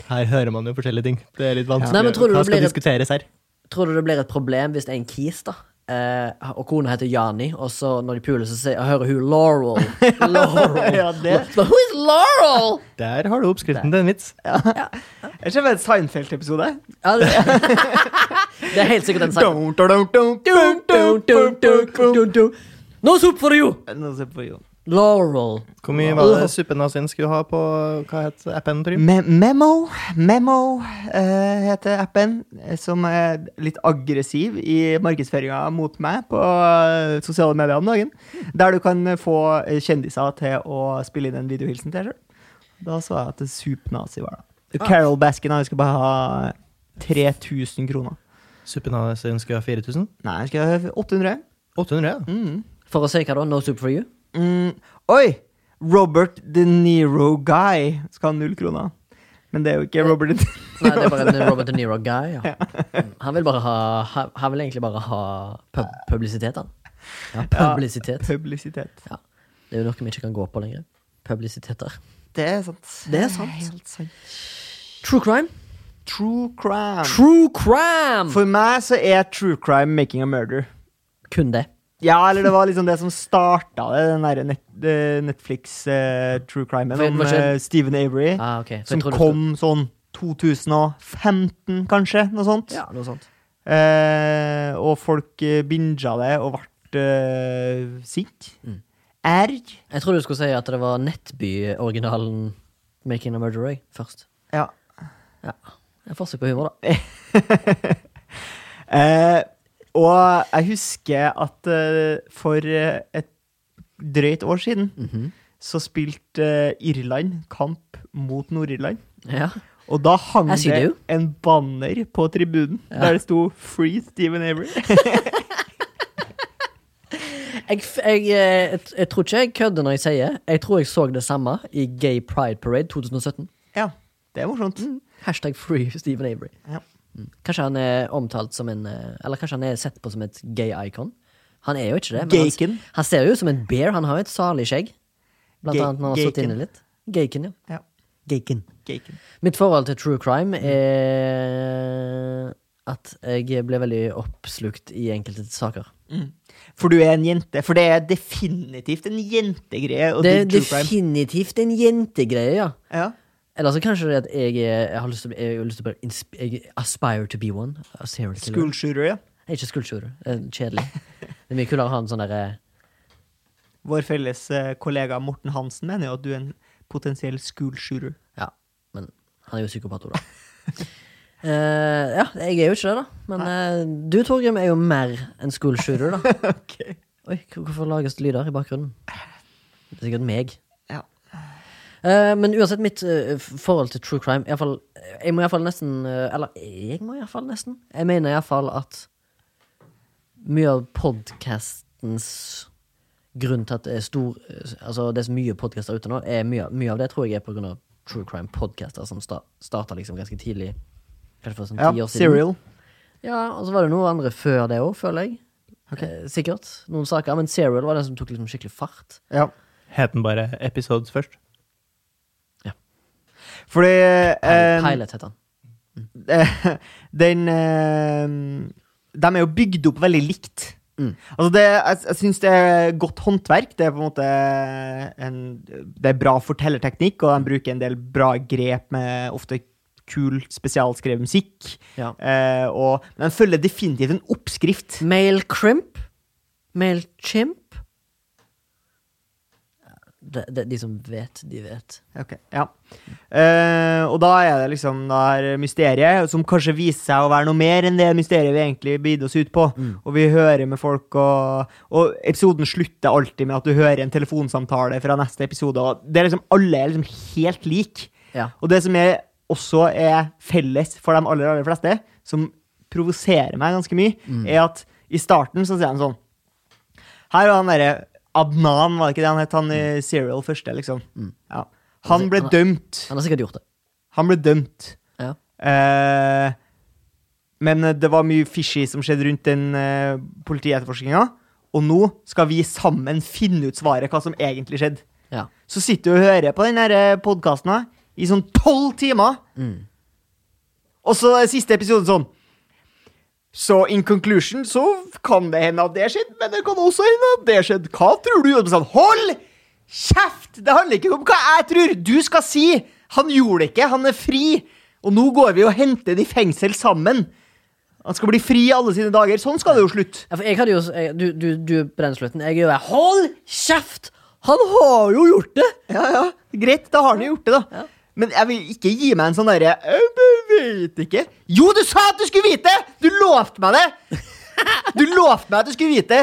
Speaker 3: Her hører man jo forskjellige ting. Det er litt vanskelig.
Speaker 2: Nei, men tror du
Speaker 3: Hva
Speaker 2: det
Speaker 3: skal
Speaker 2: blir et-
Speaker 3: diskuteres her?
Speaker 2: Tror du det blir et problem hvis det er en kis, da? Eh, og kona heter Jani, og så når de puler, så sier, hører hun Laurel. Laurel.
Speaker 1: Ja, det.
Speaker 2: La- Who is Laurel?
Speaker 3: Der har du oppskriften til en vits.
Speaker 1: Jeg ser bare en Seinfeld-episode.
Speaker 2: Ja, det, det er helt sikkert en sang.
Speaker 1: Don't, don't, don't, don't, don't, don't, don't, don't.
Speaker 2: No soup for you!
Speaker 1: Nå ser jeg på Jon.
Speaker 2: Laurel.
Speaker 3: Hvor mye var
Speaker 2: Uh.
Speaker 3: det suppenazien skulle ha på hva het
Speaker 2: Mm.
Speaker 3: appen? Trym?
Speaker 1: Me Memo, Memo eh, heter appen, eh, som er litt aggressiv i markedsføringa mot meg på eh, sosiale medier om dagen. Der du kan få eh, kjendiser til å spille inn en videohilsen til deg selv. Da så jeg at det supnazi var det. Carol Baskin han skulle bare ha 3000 kroner.
Speaker 3: Suppenazien skulle ha 4000?
Speaker 1: Nei, han skulle ha 800.
Speaker 3: 800, ja.
Speaker 2: Mm. For å si hva da? No soup for you?
Speaker 1: Mm, oi! Robert De Niro Guy skal ha null kroner. Men det er jo ikke Robert De Niro.
Speaker 2: Nei, det er bare en Robert De Niro-guy. Ja. Mm. Han vil bare ha Han han vil egentlig bare ha pub publisitet, han. Ja, publisitet.
Speaker 1: Publisitet.
Speaker 2: Ja. Det er jo noe vi ikke kan gå på lenger. Publisiteter.
Speaker 1: Det er sant.
Speaker 2: Det er sant.
Speaker 1: Helt sant.
Speaker 2: True crime.
Speaker 1: True crime.
Speaker 2: True crime!
Speaker 1: For meg så er true crime making a murder.
Speaker 2: Kun det.
Speaker 1: Ja, eller det var liksom det som starta det, den derre net, eh, Netflix eh, true crimen
Speaker 2: For det
Speaker 1: om
Speaker 2: var ikke-
Speaker 1: eh, Stephen Avery,
Speaker 2: Ah, ok. For jeg
Speaker 1: som
Speaker 2: trodde du
Speaker 1: kom sånn 2015, kanskje? Noe sånt.
Speaker 2: Ja, noe sånt.
Speaker 1: Eh, og folk eh, binga det og ble eh, sint.
Speaker 2: Mm.
Speaker 1: Erg.
Speaker 2: Jeg trodde du skulle si at det var Nettby-originalen Making a Murderer jeg, først.
Speaker 1: Ja.
Speaker 2: Ja. Et forsøk på humor, da.
Speaker 1: Eh, og jeg husker at eh, for eh, et drøyt år siden
Speaker 2: Mhm.
Speaker 1: så spilte eh, Irland kamp mot Nord-Irland.
Speaker 2: Ja.
Speaker 1: Og da hang
Speaker 2: Jeg sier det
Speaker 1: det
Speaker 2: jo.
Speaker 1: en banner på tribunen der det sto 'Free Stephen Avery'.
Speaker 2: Jeg, f- jeg, eh, jeg, jeg tror ikke jeg kødder når jeg sier Jeg tror jeg så det samme i Gay Pride Parade 2017.
Speaker 1: ja, det er morsomt.
Speaker 2: Mm. Hashtag free Stephen Avery.
Speaker 1: Ja.
Speaker 2: Mm. Kanskje han er omtalt som en eh, Eller kanskje han er sett på som et gay icon. Han er jo ikke det. han, s-
Speaker 1: Gayken.
Speaker 2: han ser jo ut som en bear. Han har jo et salig skjegg. Blant
Speaker 1: Gay-
Speaker 2: annet når han har sittet
Speaker 1: gayken.
Speaker 2: inne litt. Gayken, ja.
Speaker 1: Ja.
Speaker 2: Gayken.
Speaker 1: Gaken.
Speaker 2: Mitt forhold til true crime er at jeg ble veldig oppslukt i enkelte saker.
Speaker 1: For du er en jente. For det er definitivt en jentegreie å
Speaker 2: Det er
Speaker 1: digge true crime.
Speaker 2: definitivt en jentegreie, ja.
Speaker 1: Ja.
Speaker 2: Eller så kanskje det er at jeg, er- jeg har lyst til, å- jeg har lyst til å bare insp- jeg aspire to be one. a serial killer.
Speaker 1: School shooter, ja.
Speaker 2: Nei, Ikke skuldsjurer. Eh, Kjedelig. Det er mye kulere å ha en sånn derre
Speaker 1: Vår felles eh, kollega Morten Hansen mener jo at du er en potensiell school shooter.
Speaker 2: Ja, men han er jo psykopat, Ola. Eh, ja, jeg er jo ikke det, da. Men eh, du, Torgrim, er jo mer enn skuldsjurer, da.
Speaker 1: Ok.
Speaker 2: Oi, hvor- hvorfor lages det lyder i bakgrunnen? Det er sikkert meg.
Speaker 1: Ja.
Speaker 2: Eh, men uansett mitt eh, f- forhold til true crime i hvert fall, Jeg må iallfall nesten eh, Eller jeg må iallfall nesten Jeg mener iallfall at mye av podkastens grunn til at det er stor Altså det er så mye podkaster ute nå, er mye, mye av det tror jeg er pga. true crime-podkaster som sta, starta liksom ganske tidlig. Kanskje for sånn ti
Speaker 1: Ja,
Speaker 2: år siden.
Speaker 1: serial.
Speaker 2: Ja, og så var det noen andre før det òg, føler jeg. Eh, sikkert. Noen saker. Men Serial var den som tok liksom skikkelig fart.
Speaker 1: Ja.
Speaker 3: Het den bare Episodes først?
Speaker 1: Fordi ehm, eh,
Speaker 2: Pilot het han.
Speaker 1: eh, den eh, de er jo bygd opp veldig likt.
Speaker 2: Mm.
Speaker 1: Altså det, jeg jeg syns det er godt håndverk. Det er på en måte en, Det er bra fortellerteknikk, og de bruker en del bra grep med ofte kul, spesialskrevet musikk.
Speaker 2: Ja.
Speaker 1: Eh, og, men de følger definitivt en oppskrift.
Speaker 2: Male crimp? Male chimp? Det, det, de som vet, de vet.
Speaker 1: Ok, ja. Eh, og da er det liksom det her mysteriet, som kanskje viser seg å være noe mer enn det mysteriet vi egentlig bidde oss ut på. Og vi hører med folk, og, og episoden slutter alltid med at du hører en telefonsamtale fra neste episode. Og det er liksom, alle er liksom helt like.
Speaker 2: Ja.
Speaker 1: Og det som er, også er felles for de aller, aller fleste, som provoserer meg ganske mye, er at i starten så sier han sånn her var han derre Adnan, var det ikke det han het? Han i Serial første, liksom. Ja. Han ble
Speaker 2: Mm. Han er-
Speaker 1: dømt.
Speaker 2: Han har sikkert gjort det.
Speaker 1: Han ble dømt.
Speaker 2: Ja.
Speaker 1: Eh, men det var mye fishy som skjedde rundt den eh, politietterforskninga. Og nå skal vi sammen finne ut svaret, hva som egentlig skjedde.
Speaker 2: Ja.
Speaker 1: Så sitter du og hører på den podkasten i sånn tolv timer.
Speaker 2: Mm.
Speaker 1: Og så er siste episode sånn. Så in conclusion så kan det hende at det skjedde, men det kan også hende at det skjedde. Hva tror du? Og så sånn, Hold kjeft! Det handler ikke om hva jeg tror. Du skal si han gjorde det ikke, han er fri. Og nå går vi og henter det i fengsel sammen. Han skal bli fri i alle sine dager. Sånn skal det jo slutte.
Speaker 2: Ja, for jeg hadde jo jeg, du, du, du på den slutten. Jeg er jo der, Hold kjeft! Han har jo gjort det!
Speaker 1: Ja, ja. Greit, da har han jo gjort det, da. Men jeg vil ikke gi meg en sånn derre «Jeg bare vet ikke. Jo, du sa at du skulle vite! Du lovte meg det! Du lovte meg at du skulle vite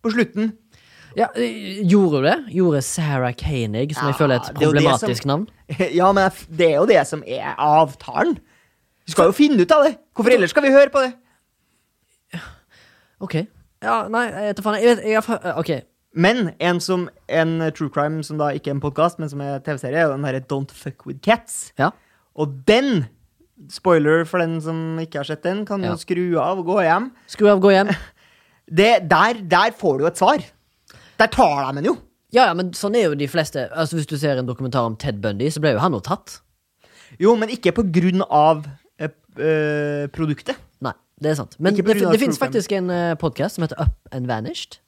Speaker 1: på slutten.
Speaker 2: Ja, eh, gjorde du det? Gjorde Sarah Koenig, som jeg
Speaker 1: Ja,
Speaker 2: føler er et
Speaker 1: det er jo det som-
Speaker 2: problematisk navn?
Speaker 1: Ja, men jeg f- det er jo det som er avtalen. Vi skal jo finne ut av det. Hvorfor ellers skal vi høre på det?
Speaker 2: Ok. Ja, nei, jeg vet da faen. Jeg vet, jeg, har- eh, ok.
Speaker 1: Men en, som, en true crime som da ikke er en podkast, men som er TV-serie, er jo den derre Don't Fuck With Cats.
Speaker 2: Ja.
Speaker 1: Og den, spoiler for den som ikke har sett den, kan
Speaker 2: Ja.
Speaker 1: jo skru av og gå hjem.
Speaker 2: Skru av, gå hjem.
Speaker 1: det, der, der får du et svar. Der tar de en jo.
Speaker 2: Ja, ja, men sånn er jo de fleste. Altså, Hvis du ser en dokumentar om Ted Bundy, så ble jo han nå tatt.
Speaker 1: Jo, men ikke på grunn av eh, eh, produktet.
Speaker 2: Nei, det er sant. Men
Speaker 1: Ikke
Speaker 2: det,
Speaker 1: på grunn av
Speaker 2: det finnes
Speaker 1: true crime.
Speaker 2: faktisk en podkast som heter Up and Vanished.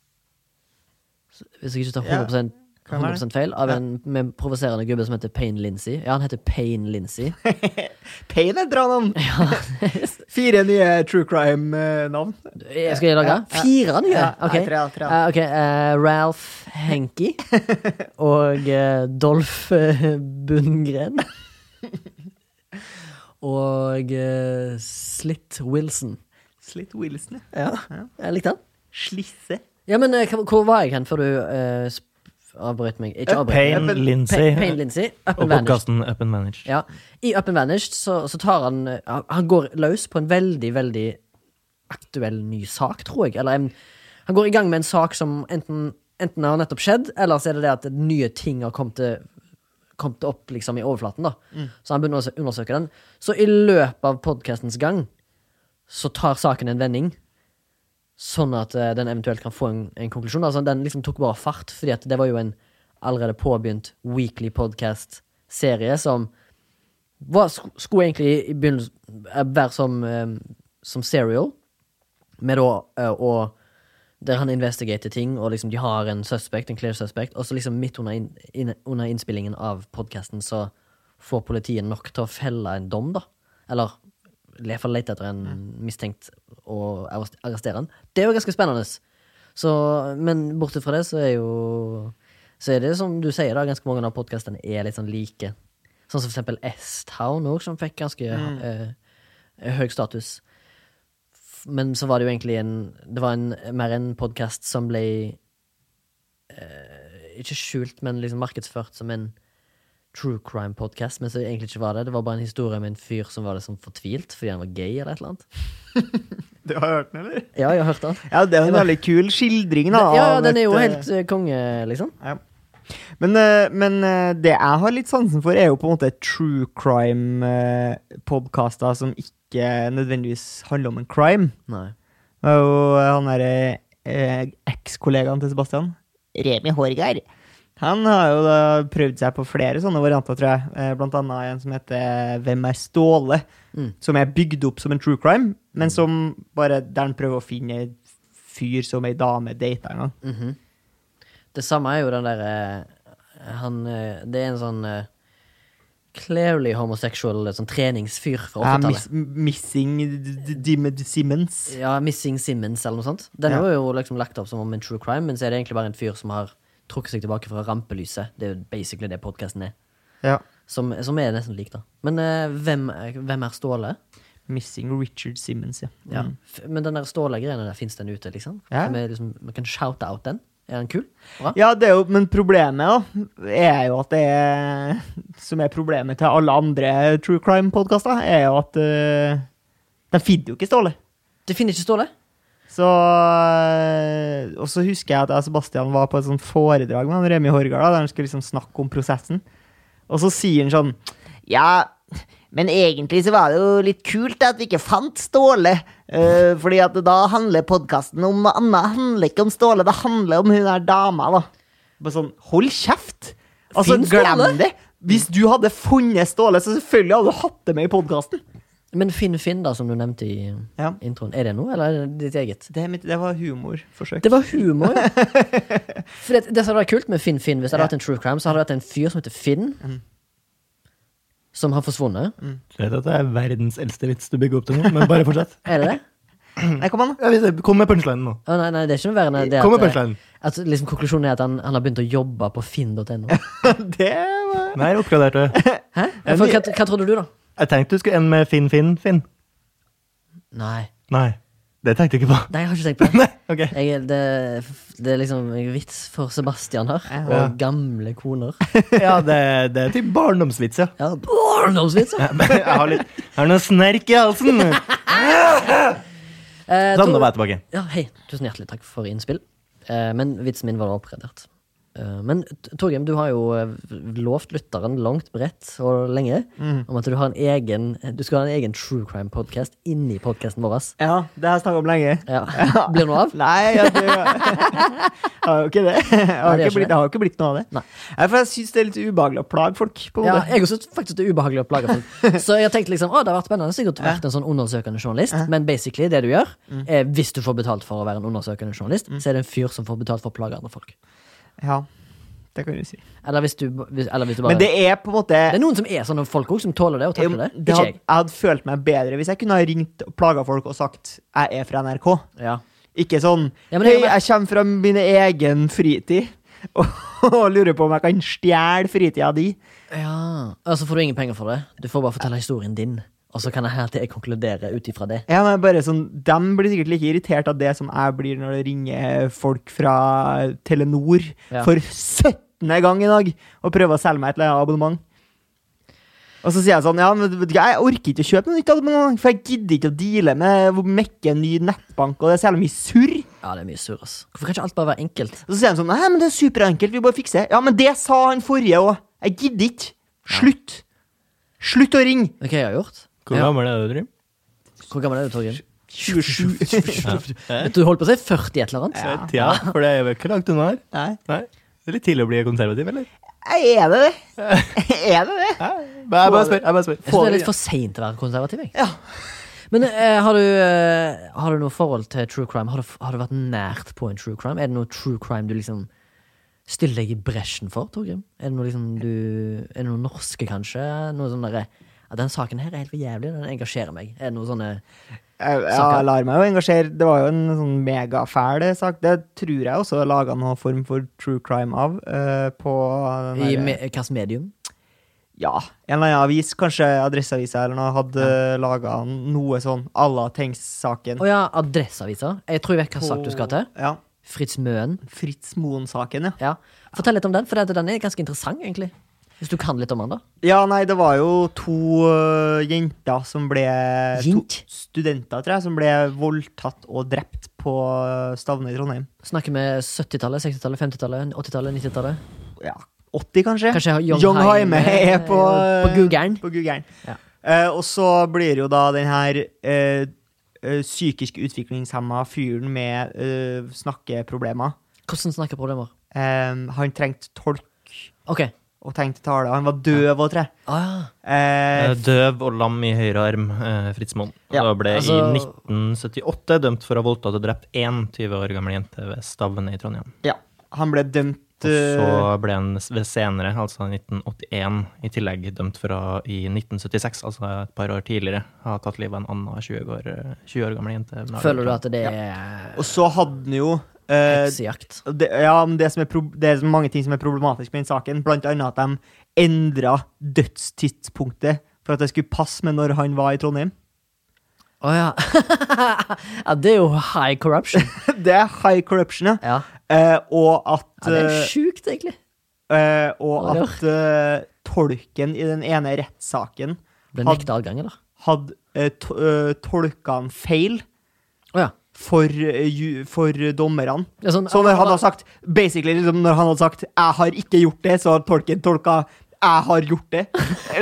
Speaker 2: Så- Hvis jeg ikke tar 100,
Speaker 1: kan være det.
Speaker 2: 100 feil, av
Speaker 1: Ja.
Speaker 2: en med en provoserende gubbe som heter Payne Lindsay. Ja, han heter Payne Lindsay.
Speaker 1: Pain er et bra navn. Fire nye true eh, crime-navn.
Speaker 2: Jeg skal jeg lage
Speaker 1: Ja, ja.
Speaker 2: fire nye?
Speaker 1: Ja,
Speaker 2: Ok,
Speaker 1: ja, tre, ja, tre, ja.
Speaker 2: Eh, ok, eh, Ralph Henki og eh, Dolph eh, Bundgren. Og eh, Slitt Wilson.
Speaker 1: Slitt Wilson, ja.
Speaker 2: Ja, jeg likte han.
Speaker 1: Slisse.
Speaker 2: Ja, men eh, hva- hvor var jeg hen før du eh, sp- avbrøt meg? Ikke avbrøt meg.
Speaker 3: Eh, Payne Lindsay.
Speaker 2: Payne Lindsay. Up
Speaker 3: Og
Speaker 2: and Vanished.
Speaker 3: podkasten Up and Managed.
Speaker 2: Ja. I Up and Vanished så, så tar han eh, Han går løs på en veldig, veldig aktuell ny sak, tror jeg. Eller en, han går i gang med en sak som enten, enten har nettopp skjedd, eller så er det det at nye ting har kommet til kommet opp liksom i overflaten. da Så han begynner å undersøke den. Så i løpet av podkastens gang så tar saken en vending, sånn at eh, den eventuelt kan få en, en konklusjon. Altså, den liksom tok bare fart, fordi at det var jo en allerede påbegynt weekly podcast-serie som var, sk- skulle egentlig i begynnelsen eh, være som, eh, som serial, med da eh, å der han investigerer ting, og liksom de har en suspect, en clear suspect, og så liksom midt under, inn, inn, under innspillingen av podkasten så får politiet nok til å felle en dom, da. Eller i hvert fall lete etter en mistenkt og arrest- arrestere han. Det er jo ganske spennende. Så, men bortsett fra det, så er jo Så er det som du sier, da, ganske mange av podkastene er litt sånn like. Sånn som for eksempel S-Town òg, som fikk ganske eh, høy status men så var det jo egentlig en Det var en, mer en podkast som ble eh, Ikke skjult, men liksom markedsført som en true crime-podkast. Men så egentlig ikke var det. Det var bare en historie om en fyr som var liksom fortvilt fordi han var gay eller et eller annet.
Speaker 1: Du har hørt den, eller?
Speaker 2: Ja, jeg har hørt den.
Speaker 1: Ja, det er jo en veldig kul skildring, da.
Speaker 2: Ja, ja,
Speaker 1: av
Speaker 2: den er jo
Speaker 1: et, eh,
Speaker 2: helt eh, konge, liksom.
Speaker 1: Men, eh, men eh, det jeg har litt sansen for, er jo på en måte true crime-podkaster som ikke nødvendigvis handler om en crime.
Speaker 2: Nei.
Speaker 1: Det var jo han derre eh, ekskollegaen til Sebastian. Remi Horgar. Han har jo da prøvd seg på flere sånne varianter, tror jeg. Eh, Blant annet en som heter Hvem er Ståle?
Speaker 2: Mm.
Speaker 1: Som er bygd opp som en true crime, men som bare der han prøver å finne en fyr som ei dame data en gang.
Speaker 2: Mm, Det samme er jo den derre Han eh, Det er en sånn eh, clearly homosexual eh, sånn treningsfyr fra
Speaker 1: Ja,
Speaker 2: 80-tallet.
Speaker 1: miss, missing D- D- Simmons.
Speaker 2: Ja, Missing Simmons eller noe sånt. Den
Speaker 1: Ja.
Speaker 2: er jo liksom lagt opp som om en true crime, men så er det egentlig bare en fyr som har trukket seg tilbake fra rampelyset. Det er jo basically det podkasten er.
Speaker 1: Ja.
Speaker 2: Som, som er nesten lik, da. Men eh, hvem, er- hvem er Ståle?
Speaker 1: Missing Richard Simmons, ja.
Speaker 2: Ja.
Speaker 1: Mm.
Speaker 2: F men den der Ståle-greiene der, fins den ute, liksom?
Speaker 1: Ja.
Speaker 2: Kan vi liksom? Man kan shoute out den? Er den kul? Bra?
Speaker 1: Ja, det er jo, men problemet da, er jo at det er Som er problemet til alle andre true crime-podkaster, er jo at eh, de finner jo ikke Ståle.
Speaker 2: Det finner ikke Ståle?
Speaker 1: Så eh, Og så husker jeg at jeg og Sebastian var på et sånt foredrag med han Remi Horgard, da, der han skulle liksom snakke om prosessen. Og så sier han sånn Ja, men egentlig så var det jo litt kult at vi ikke fant Ståle. eh, fordi at da handler podkasten om noe annet. handler ikke om Ståle, det handler om hun der dama, da. Bare sånn, hold kjeft! Altså,
Speaker 2: Finn Ståle?
Speaker 1: glem det! Hvis du hadde funnet Ståle, så selvfølgelig hadde du hatt det med i podkasten.
Speaker 2: Men Finn Finn, da, som du nevnte i
Speaker 1: Ja.
Speaker 2: introen. Er det noe, eller er det ditt eget?
Speaker 1: Det, er mitt- det var humorforsøk.
Speaker 2: Det var humor, ja. For det, det som hadde vært kult med Finn Finn, hvis det hadde vært en true crime, så hadde det vært en fyr som heter Finn,
Speaker 3: Mm.
Speaker 2: som har forsvunnet.
Speaker 3: Du vet at det er verdens eldste vits du bygger opp til nå, men bare fortsett.
Speaker 2: Er det det?
Speaker 1: Nei, kom an, da.
Speaker 3: Ja, hvis det- Kom med punchlinen nå.
Speaker 2: Å, nei, nei, det er ikke noe verre enn det
Speaker 3: Kom med
Speaker 2: at,
Speaker 3: punchlinen.
Speaker 2: at liksom, konklusjonen er at han, han har begynt å jobbe på finn.no.
Speaker 1: Det var
Speaker 3: Nei, jeg oppgraderte.
Speaker 2: Hæ? For, hva, hva trodde du, da?
Speaker 3: Jeg tenkte du skulle ende med Finn, Finn, Finn.
Speaker 2: Nei,
Speaker 3: Nei, det tenkte jeg ikke på.
Speaker 2: nei jeg har ikke tenkt på det.
Speaker 3: Nei, ok.
Speaker 2: Jeg, det, det er liksom en vits for Sebastian her,
Speaker 3: Ja.
Speaker 2: og gamle koner.
Speaker 3: Ja, det, det er typ barndomsvits, ja.
Speaker 2: Ja, barndomsvitser!
Speaker 3: Jeg har, litt, jeg har noe snerk i halsen.
Speaker 2: Eh,
Speaker 3: Sånn,
Speaker 2: Tor-
Speaker 3: da var jeg tilbake.
Speaker 2: Ja, hei. Tusen hjertelig takk for innspill. Eh, men vitsen min var oppgradert. Eh, men T- Torgrim, du har jo eh, lovt lytteren langt, bredt og lenge
Speaker 1: Mhm.
Speaker 2: om at du har en egen Du skal ha en egen true crime-podkast inni podkasten vår. ass.
Speaker 1: Ja, det har jeg snakka om lenge.
Speaker 2: Ja. Blir det noe av?
Speaker 1: Nei, ja, det har jo ikke det. Jeg
Speaker 2: Nei,
Speaker 1: har
Speaker 2: det gjør
Speaker 1: ikke
Speaker 2: ikke
Speaker 1: blitt,
Speaker 2: det.
Speaker 1: det har jo ikke blitt noe av det.
Speaker 2: Nei.
Speaker 1: Nei, for jeg syns det er litt ubehagelig å plage folk. på en
Speaker 2: Ja,
Speaker 1: måte.
Speaker 2: jeg syns faktisk det er ubehagelig å plage folk. Så jeg tenkte liksom, å, det har vært spennende sikkert å vært en sånn undersøkende journalist, men basically det du gjør,
Speaker 1: Mm.
Speaker 2: er, hvis du får betalt for å være en undersøkende journalist, så er det en fyr som får betalt for å plage andre folk.
Speaker 1: Ja, det kan du si.
Speaker 2: Eller hvis du, hvis, eller hvis du bare
Speaker 1: Men det er på en måte
Speaker 2: Det er noen som er sånne folk òg, som tåler det og
Speaker 1: jeg,
Speaker 2: takler det.
Speaker 1: det
Speaker 2: Ikke
Speaker 1: hadde,
Speaker 2: jeg.
Speaker 1: jeg hadde følt meg bedre hvis jeg kunne ha ringt og plaga folk og sagt 'jeg er fra NRK'.
Speaker 2: Ja.
Speaker 1: Ikke sånn
Speaker 2: Ja, men det
Speaker 1: 'hei,
Speaker 2: kan være-
Speaker 1: jeg kommer fra min egen fritid' og, og lurer på om jeg kan stjele fritida di.
Speaker 2: Ja. Og så får du ingen penger for det. Du får bare fortelle historien din. Og så kan jeg her til jeg konkludere ut ifra det.
Speaker 1: Ja, men bare sånn, De blir sikkert like irritert av det som jeg blir når det ringer folk fra Telenor
Speaker 2: Ja.
Speaker 1: for 17. gang i dag og prøver å selge meg et eller annet abonnement. Og så sier jeg sånn Ja, men vet du hva, jeg orker ikke å kjøpe noe nytt abonnement, for jeg gidder ikke å deale med å mekke en ny nettbank, og det er særlig mye surr.
Speaker 2: Ja, det er mye surr, ass. Hvorfor kan ikke alt bare være enkelt?
Speaker 1: Og så sier de sånn Nei, men det er superenkelt, vi bare fikser det. Ja, men det sa han forrige òg. Jeg gidder ikke. Slutt. Slutt å ringe.
Speaker 2: Hva jeg har gjort?
Speaker 3: Hvor gammel er du, Trym?
Speaker 2: Hvor gammel er du, Torgrim?
Speaker 1: 27.
Speaker 3: Ja.
Speaker 2: Du holdt på å si 40 et eller annet.
Speaker 3: Ja, for det er jo ikke langt unna her.
Speaker 1: Nei.
Speaker 3: Nei. Det er litt tidlig å bli konservativ, eller?
Speaker 1: Er det det? Er det det?
Speaker 3: Ja, jeg bare spør. Jeg bare spør.
Speaker 2: Jeg synes det er litt for seint til å være konservativ. Jeg.
Speaker 1: Ja.
Speaker 2: Men eh, har, du, eh, har du noe forhold til true crime? Har du, har du vært nært på en true crime? Er det noe true crime du liksom stiller deg i bresjen for, Torgrim? Er det noe liksom du Er det noe norske, kanskje? Noe sånn derre at den saken her er helt for jævlig, den engasjerer meg. Er det noe sånne
Speaker 1: Jeg, ja,
Speaker 2: Saker.
Speaker 1: jeg lar meg jo engasjere. Det var jo en sånn megafæl sak. Det tror jeg også er laga noen form for true crime av. eh, på den
Speaker 2: I
Speaker 1: der-
Speaker 2: me hvilket medium?
Speaker 1: Ja, en eller annen avis, kanskje Adresseavisa eller noe, hadde ja. laga noe sånn à la Tengs-saken.
Speaker 2: Å ja, Adresseavisa. Jeg tror jeg vet hvilken sak du skal til.
Speaker 1: Ja.
Speaker 2: Fritz Møen.
Speaker 1: Fritz Moen-saken, ja.
Speaker 2: Ja. Fortell litt om den, for den er ganske interessant, egentlig. Hvis du kan litt om den, da.
Speaker 1: Ja, nei, det var jo to øh, jenter som ble to
Speaker 2: Jint?
Speaker 1: Studenter, tror jeg, som ble voldtatt og drept på øh, Stavne i Trondheim.
Speaker 2: Snakker vi 70-tallet, 60-tallet, 50-tallet, 80-tallet, 90-tallet?
Speaker 1: ja, 80 kanskje.
Speaker 2: Kanskje Young
Speaker 1: Young
Speaker 2: Haime
Speaker 1: Haime er på,
Speaker 2: på Gugeren.
Speaker 1: På Gugeren.
Speaker 2: Ja.
Speaker 1: Eh, og så blir jo da den her eh, eh, psykisk utviklingshemma fyren med eh, snakkeproblemer
Speaker 2: Hvordan snakker problemer?
Speaker 1: eh, Han trengte tolk
Speaker 2: OK.
Speaker 1: og tenkte tale. Han var døv og tre.
Speaker 2: Ah,
Speaker 1: Eh,
Speaker 3: Eh, Døv og lam i høyre arm, eh, Fritz Moen.
Speaker 1: Ja,
Speaker 3: og ble
Speaker 2: altså-
Speaker 3: i 1978 dømt for å ha voldtatt og drept én 20 år gammel jente ved Stavne i Trondheim.
Speaker 1: ja. Han ble dømt
Speaker 3: Og
Speaker 1: eh,
Speaker 3: så ble han s- ved senere, altså i 1981, i tillegg dømt for å ha i 1976, altså et par år tidligere, ha tatt livet av en annen 20 år, eh, 20 år gammel jente.
Speaker 2: føler du at det er
Speaker 1: eh, Og så hadde han jo eh,
Speaker 2: heksejakt?
Speaker 1: Og det, ja, men det, som er prob- det er så mange ting som er problematisk med den saken. Blant annet at de endra dødstidspunktet for at det skulle passe med når han var i Trondheim.
Speaker 2: Å ja. ja. Det er jo high corruption.
Speaker 1: Det er high corruption, ja.
Speaker 2: Ja,
Speaker 1: Eh, og at,
Speaker 2: ja Det er
Speaker 1: eh,
Speaker 2: sjukt, egentlig.
Speaker 1: eh, og
Speaker 2: Ja.
Speaker 1: at eh, tolken i den ene rettssaken
Speaker 2: Ble
Speaker 1: Had-
Speaker 2: nekta adgang, eller?
Speaker 1: hadde eh, to, eh, tolka han feil
Speaker 2: Å ja.
Speaker 1: for, eh, ju, for dommerne.
Speaker 2: Det er sånn-
Speaker 1: så når han hadde altså- sagt Basically, liksom, når han hadde sagt 'jeg har ikke gjort det', så hadde tolken tolka 'jeg har gjort det'.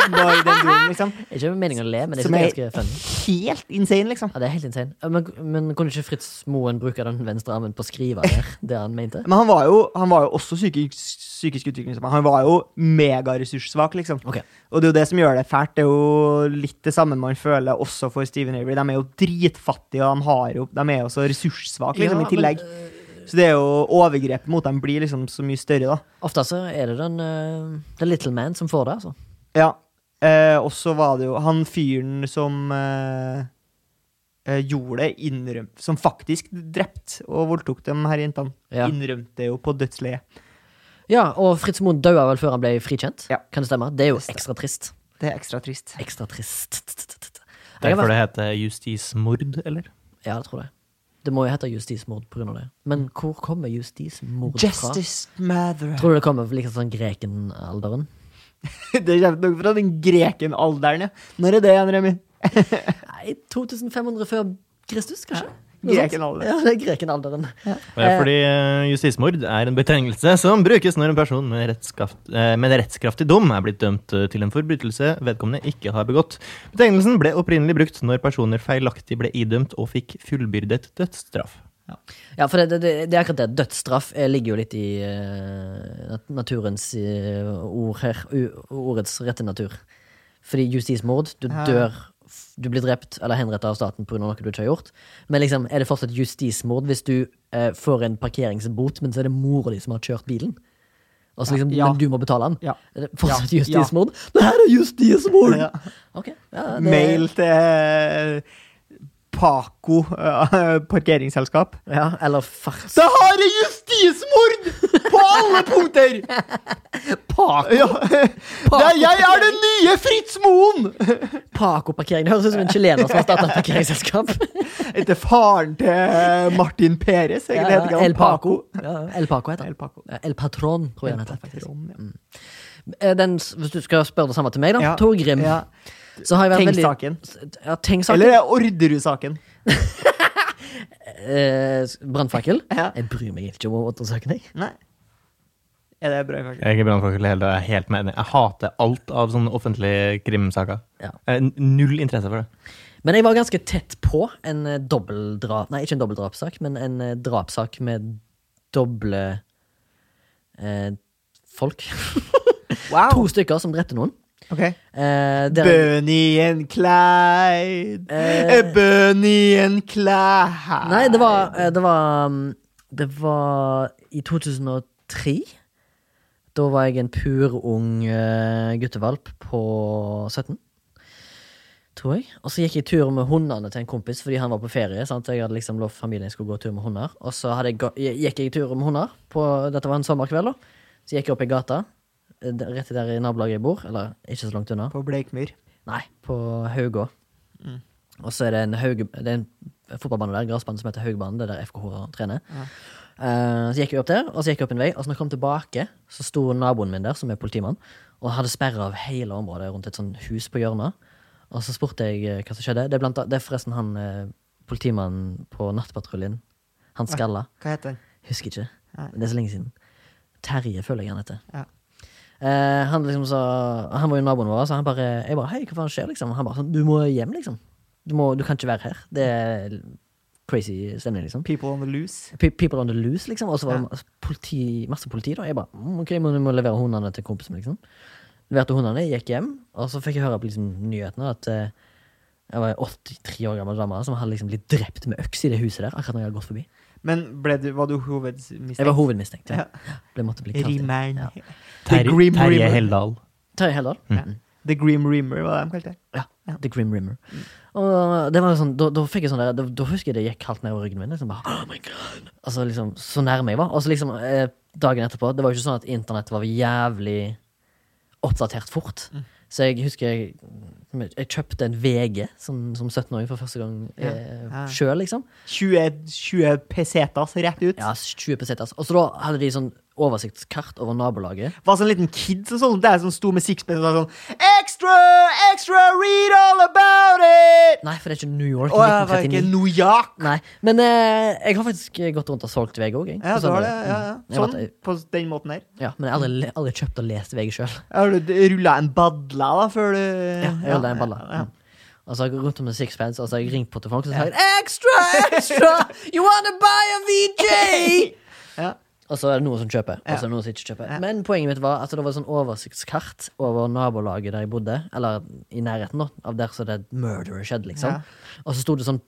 Speaker 1: Noe i den duren, liksom.
Speaker 2: Det er Ikke med meningen å le, men det er sånn
Speaker 1: Som
Speaker 2: ganske
Speaker 1: er
Speaker 2: funny.
Speaker 1: helt insane, liksom.
Speaker 2: Ja, det er helt insane. Ja, Men, men kunne ikke Fritz Moen bruke den venstre armen på å skrive der, det han mente?
Speaker 1: Men han var jo, han var jo også psykisk, psykisk utviklingshemmet. Han var jo megaressurssvak, liksom.
Speaker 2: Ok.
Speaker 1: Og det er jo det som gjør det fælt. Det er jo litt det samme man føler også for Steven Avery. De er jo dritfattige, og de, har jo, de er jo så ressurssvake, liksom,
Speaker 2: Ja,
Speaker 1: i tillegg.
Speaker 2: men, eh,
Speaker 1: Så det er jo overgrepet mot dem blir liksom så mye større, da.
Speaker 2: ofte så er det den eh, The Little Man som får det, altså.
Speaker 1: Ja. Eh, og så var det jo han fyren som eh, eh, gjorde det, innrømte Som faktisk drept og voldtok de her jentene.
Speaker 2: Ja.
Speaker 1: Innrømte jo på dødsleiet.
Speaker 2: Ja, og Fritz Moen døde vel før han ble frikjent?
Speaker 1: Ja.
Speaker 2: Kan det stemme? Det er jo ekstra trist.
Speaker 1: Det er ekstra trist.
Speaker 2: Ekstra trist. Jeg har vært-
Speaker 3: Derfor det heter justismord, eller?
Speaker 2: Ja, det tror jeg. Det må jo hete justismord pga. det. Men hvor kommer justismord fra?
Speaker 1: Justice Mather.
Speaker 2: Tror du det kommer fra liksom sånn Grekenalderen?
Speaker 1: Det kommer nok fra den grekenalderen, ja. Når er det igjen, Remi?
Speaker 2: Nei, 2500 før Kristus, kanskje?
Speaker 1: Grekenalderen.
Speaker 2: Ja, det er Grekenalderen.
Speaker 3: Det er fordi eh, justismord er en betegnelse som brukes når en person med, rettskaft, eh, med rettskraftig dom er blitt dømt eh, til en forbrytelse vedkommende ikke har begått. Betegnelsen ble opprinnelig brukt når personer feilaktig ble idømt og fikk fullbyrdet dødsstraff.
Speaker 2: Ja, for det, det, det, det er akkurat det. Dødsstraff eh, ligger jo litt i eh, nat- naturens eh, ord her. U ordets rette natur. Fordi justismord, du dør f- Du blir drept eller henrettet av staten pga. noe du ikke har gjort. Men liksom, er det fortsatt justismord hvis du eh, får en parkeringsbot, men så er det mora di som har kjørt bilen? Og så liksom,
Speaker 1: Ja.
Speaker 2: Men du må betale den?
Speaker 1: Ja.
Speaker 2: Er det fortsatt
Speaker 1: Ja.
Speaker 2: justismord? Det her er justismord!
Speaker 1: Ja.
Speaker 2: Ok. Ja, det,
Speaker 1: Mail til eh, Paco eh, parkeringsselskap.
Speaker 2: Ja, eller farts...
Speaker 1: Det her er justismord på alle punkter!
Speaker 2: Paco,
Speaker 1: Ja. Det er, jeg er den nye Fritz Moen!
Speaker 2: Paco-parkering. Det høres ut som en chilener som har starta parkeringsselskap.
Speaker 1: Etter faren til eh, Martin Peres.
Speaker 2: Ja,
Speaker 1: Egentlig heter ikke han
Speaker 2: El Paco. Ja, El Paco heter han.
Speaker 1: El Paco.
Speaker 2: Ja, El Patron, tror jeg han heter. faktisk.
Speaker 1: Patron, ja.
Speaker 2: Eh, Den, s- hvis du skal spørre det samme til meg, da.
Speaker 1: Ja.
Speaker 2: Torgrim.
Speaker 1: Ja.
Speaker 2: Så har jeg vært
Speaker 1: Tengs-saken.
Speaker 2: veldig Ja, Tengs-saken.
Speaker 1: Eller er det Orderud-saken.
Speaker 2: Eh, s- Brannfakkel.
Speaker 1: Ja.
Speaker 2: Jeg bryr meg ikke om åttesøkning.
Speaker 1: Nei. Er det bra, faktisk?
Speaker 3: Jeg er ikke brannfakkel heller, jeg er helt med enig. Jeg hater alt av sånne offentlige krimsaker.
Speaker 2: Ja.
Speaker 3: Eh, n- Null interesse for det.
Speaker 2: Men jeg var ganske tett på en eh, dobbeltdrap... Nei, ikke en dobbeltdrapssak, men en eh, drapssak med doble eh, folk. to
Speaker 1: Wow.
Speaker 2: stykker som drepte noen.
Speaker 1: Ok.
Speaker 2: Eh, der-
Speaker 1: Bunny and Clyde.
Speaker 2: Eh.
Speaker 1: Eh. Bunny and Clyde.
Speaker 2: Nei, det var, eh, det var mm, Det var i 2003. Da var jeg en pur ung eh, guttevalp på 17, tror jeg. Og så gikk jeg tur med hundene til en kompis fordi han var på ferie. sant? Jeg hadde liksom lovt familien jeg skulle gå tur med hunder. Og så hadde jeg, gå- gikk jeg tur med hunder. På, dette var en sommerkveld. da. Så gikk jeg opp i gata, eh, d- rett der i nabolaget jeg bor. Eller ikke så langt unna.
Speaker 1: På Bleikmyr.
Speaker 2: Nei, på Haugå. Og så er det en, Hauge, det er en fotballbane der, gressbane som heter Haugbanen. Det er der FKH trener. Eh, så gikk jeg opp der, og så gikk jeg opp en vei. Og så når jeg kom tilbake, så sto naboen min der, som er politimann, og hadde sperra av hele området rundt et sånt hus på hjørnet. Og så spurte jeg eh, hva som skjedde. Det er, blant, annet- det er forresten han eh, politimannen på nattpatruljen. Han skalla.
Speaker 1: Hva heter den?
Speaker 2: Husker ikke.
Speaker 1: Nei.
Speaker 2: Men det er så lenge siden. Terje føler jeg han heter.
Speaker 1: Ja.
Speaker 2: Eh, han liksom sa Han var jo naboen vår, så han bare Jeg bare Hei, hva faen skjer, liksom? Han bare sånn Du må hjem, liksom. Du, må, du kan ikke være her. Det er crazy stemning, liksom.
Speaker 1: People on the loose.
Speaker 2: Pe- People on the loose, liksom. Og så var det masse politi, masse politi, da. Jeg bare mm, OK, men du må levere hundene til kompisen, liksom. Leverte hundene, gikk hjem, og så fikk jeg høre på liksom, nyhetene at eh, jeg var en 83 år gammel dame som hadde liksom blitt drept med øks i det huset der. akkurat når jeg hadde gått forbi.
Speaker 1: Men ble du, var du
Speaker 2: Jeg var
Speaker 1: hovedmistenkt?
Speaker 2: hovedmistenkt. Ja. Ble, måtte bli kalt inn.
Speaker 1: Rimeren.
Speaker 2: Ja.
Speaker 1: The Grim
Speaker 3: Terje
Speaker 1: Reamer.
Speaker 3: Helldal.
Speaker 2: Terje Helldal. Mm.
Speaker 1: The Grim Reamer, hva er det de kalte det?
Speaker 2: The Grim Rimmer. Og det var jo sånn, da, da fikk jeg sånn der, da, da husker jeg det gikk kaldt nedover ryggen min. Liksom bare, oh my god Altså liksom, Så nærme jeg var. Og så liksom eh, dagen etterpå Det var jo ikke sånn at internett var jævlig oppdatert fort. Så jeg husker jeg, jeg kjøpte en VG som, som 17-åring for første gang
Speaker 1: Ja.
Speaker 2: eh,
Speaker 1: Ja.
Speaker 2: sjøl, liksom.
Speaker 1: 20, 20 pesetas rett ut.
Speaker 2: Ja, 20 pesetas. Og så da hadde de sånn oversiktskart over nabolaget.
Speaker 1: Var sånn liten kid som sånn der som sto med sixpence og sa sånn Extra, extra, read all about it!
Speaker 2: Nei, for det er ikke New York.
Speaker 1: Å, jeg var ikke
Speaker 2: 1939.
Speaker 1: New York.
Speaker 2: Nei, Men eh, jeg har faktisk gått rundt og solgt VG òg.
Speaker 1: Ja, du har det. Ja, ja.
Speaker 2: Mm. Jeg
Speaker 1: Sånn,
Speaker 2: vet-
Speaker 1: på den måten her.
Speaker 2: Ja, men jeg har aldri, aldri kjøpt og lest VG sjøl.
Speaker 1: Har du rulla en badla, da, før du
Speaker 2: Ja, jeg holder en balle.
Speaker 1: ja.
Speaker 2: Mm. Og så har jeg gått rundt med sixpence og så har jeg ringt på til folk og så har jeg Mm. Extra! Extra! You wanna buy a VJ?
Speaker 1: Ja.
Speaker 2: Og så er det noen som kjøper, og så er det noen som ikke kjøper. Men poenget mitt var at det var et sånn oversiktskart over nabolaget der jeg bodde, eller i nærheten da, av der så det murderet skjedde, liksom.
Speaker 1: Ja.
Speaker 2: Og så sto det sånn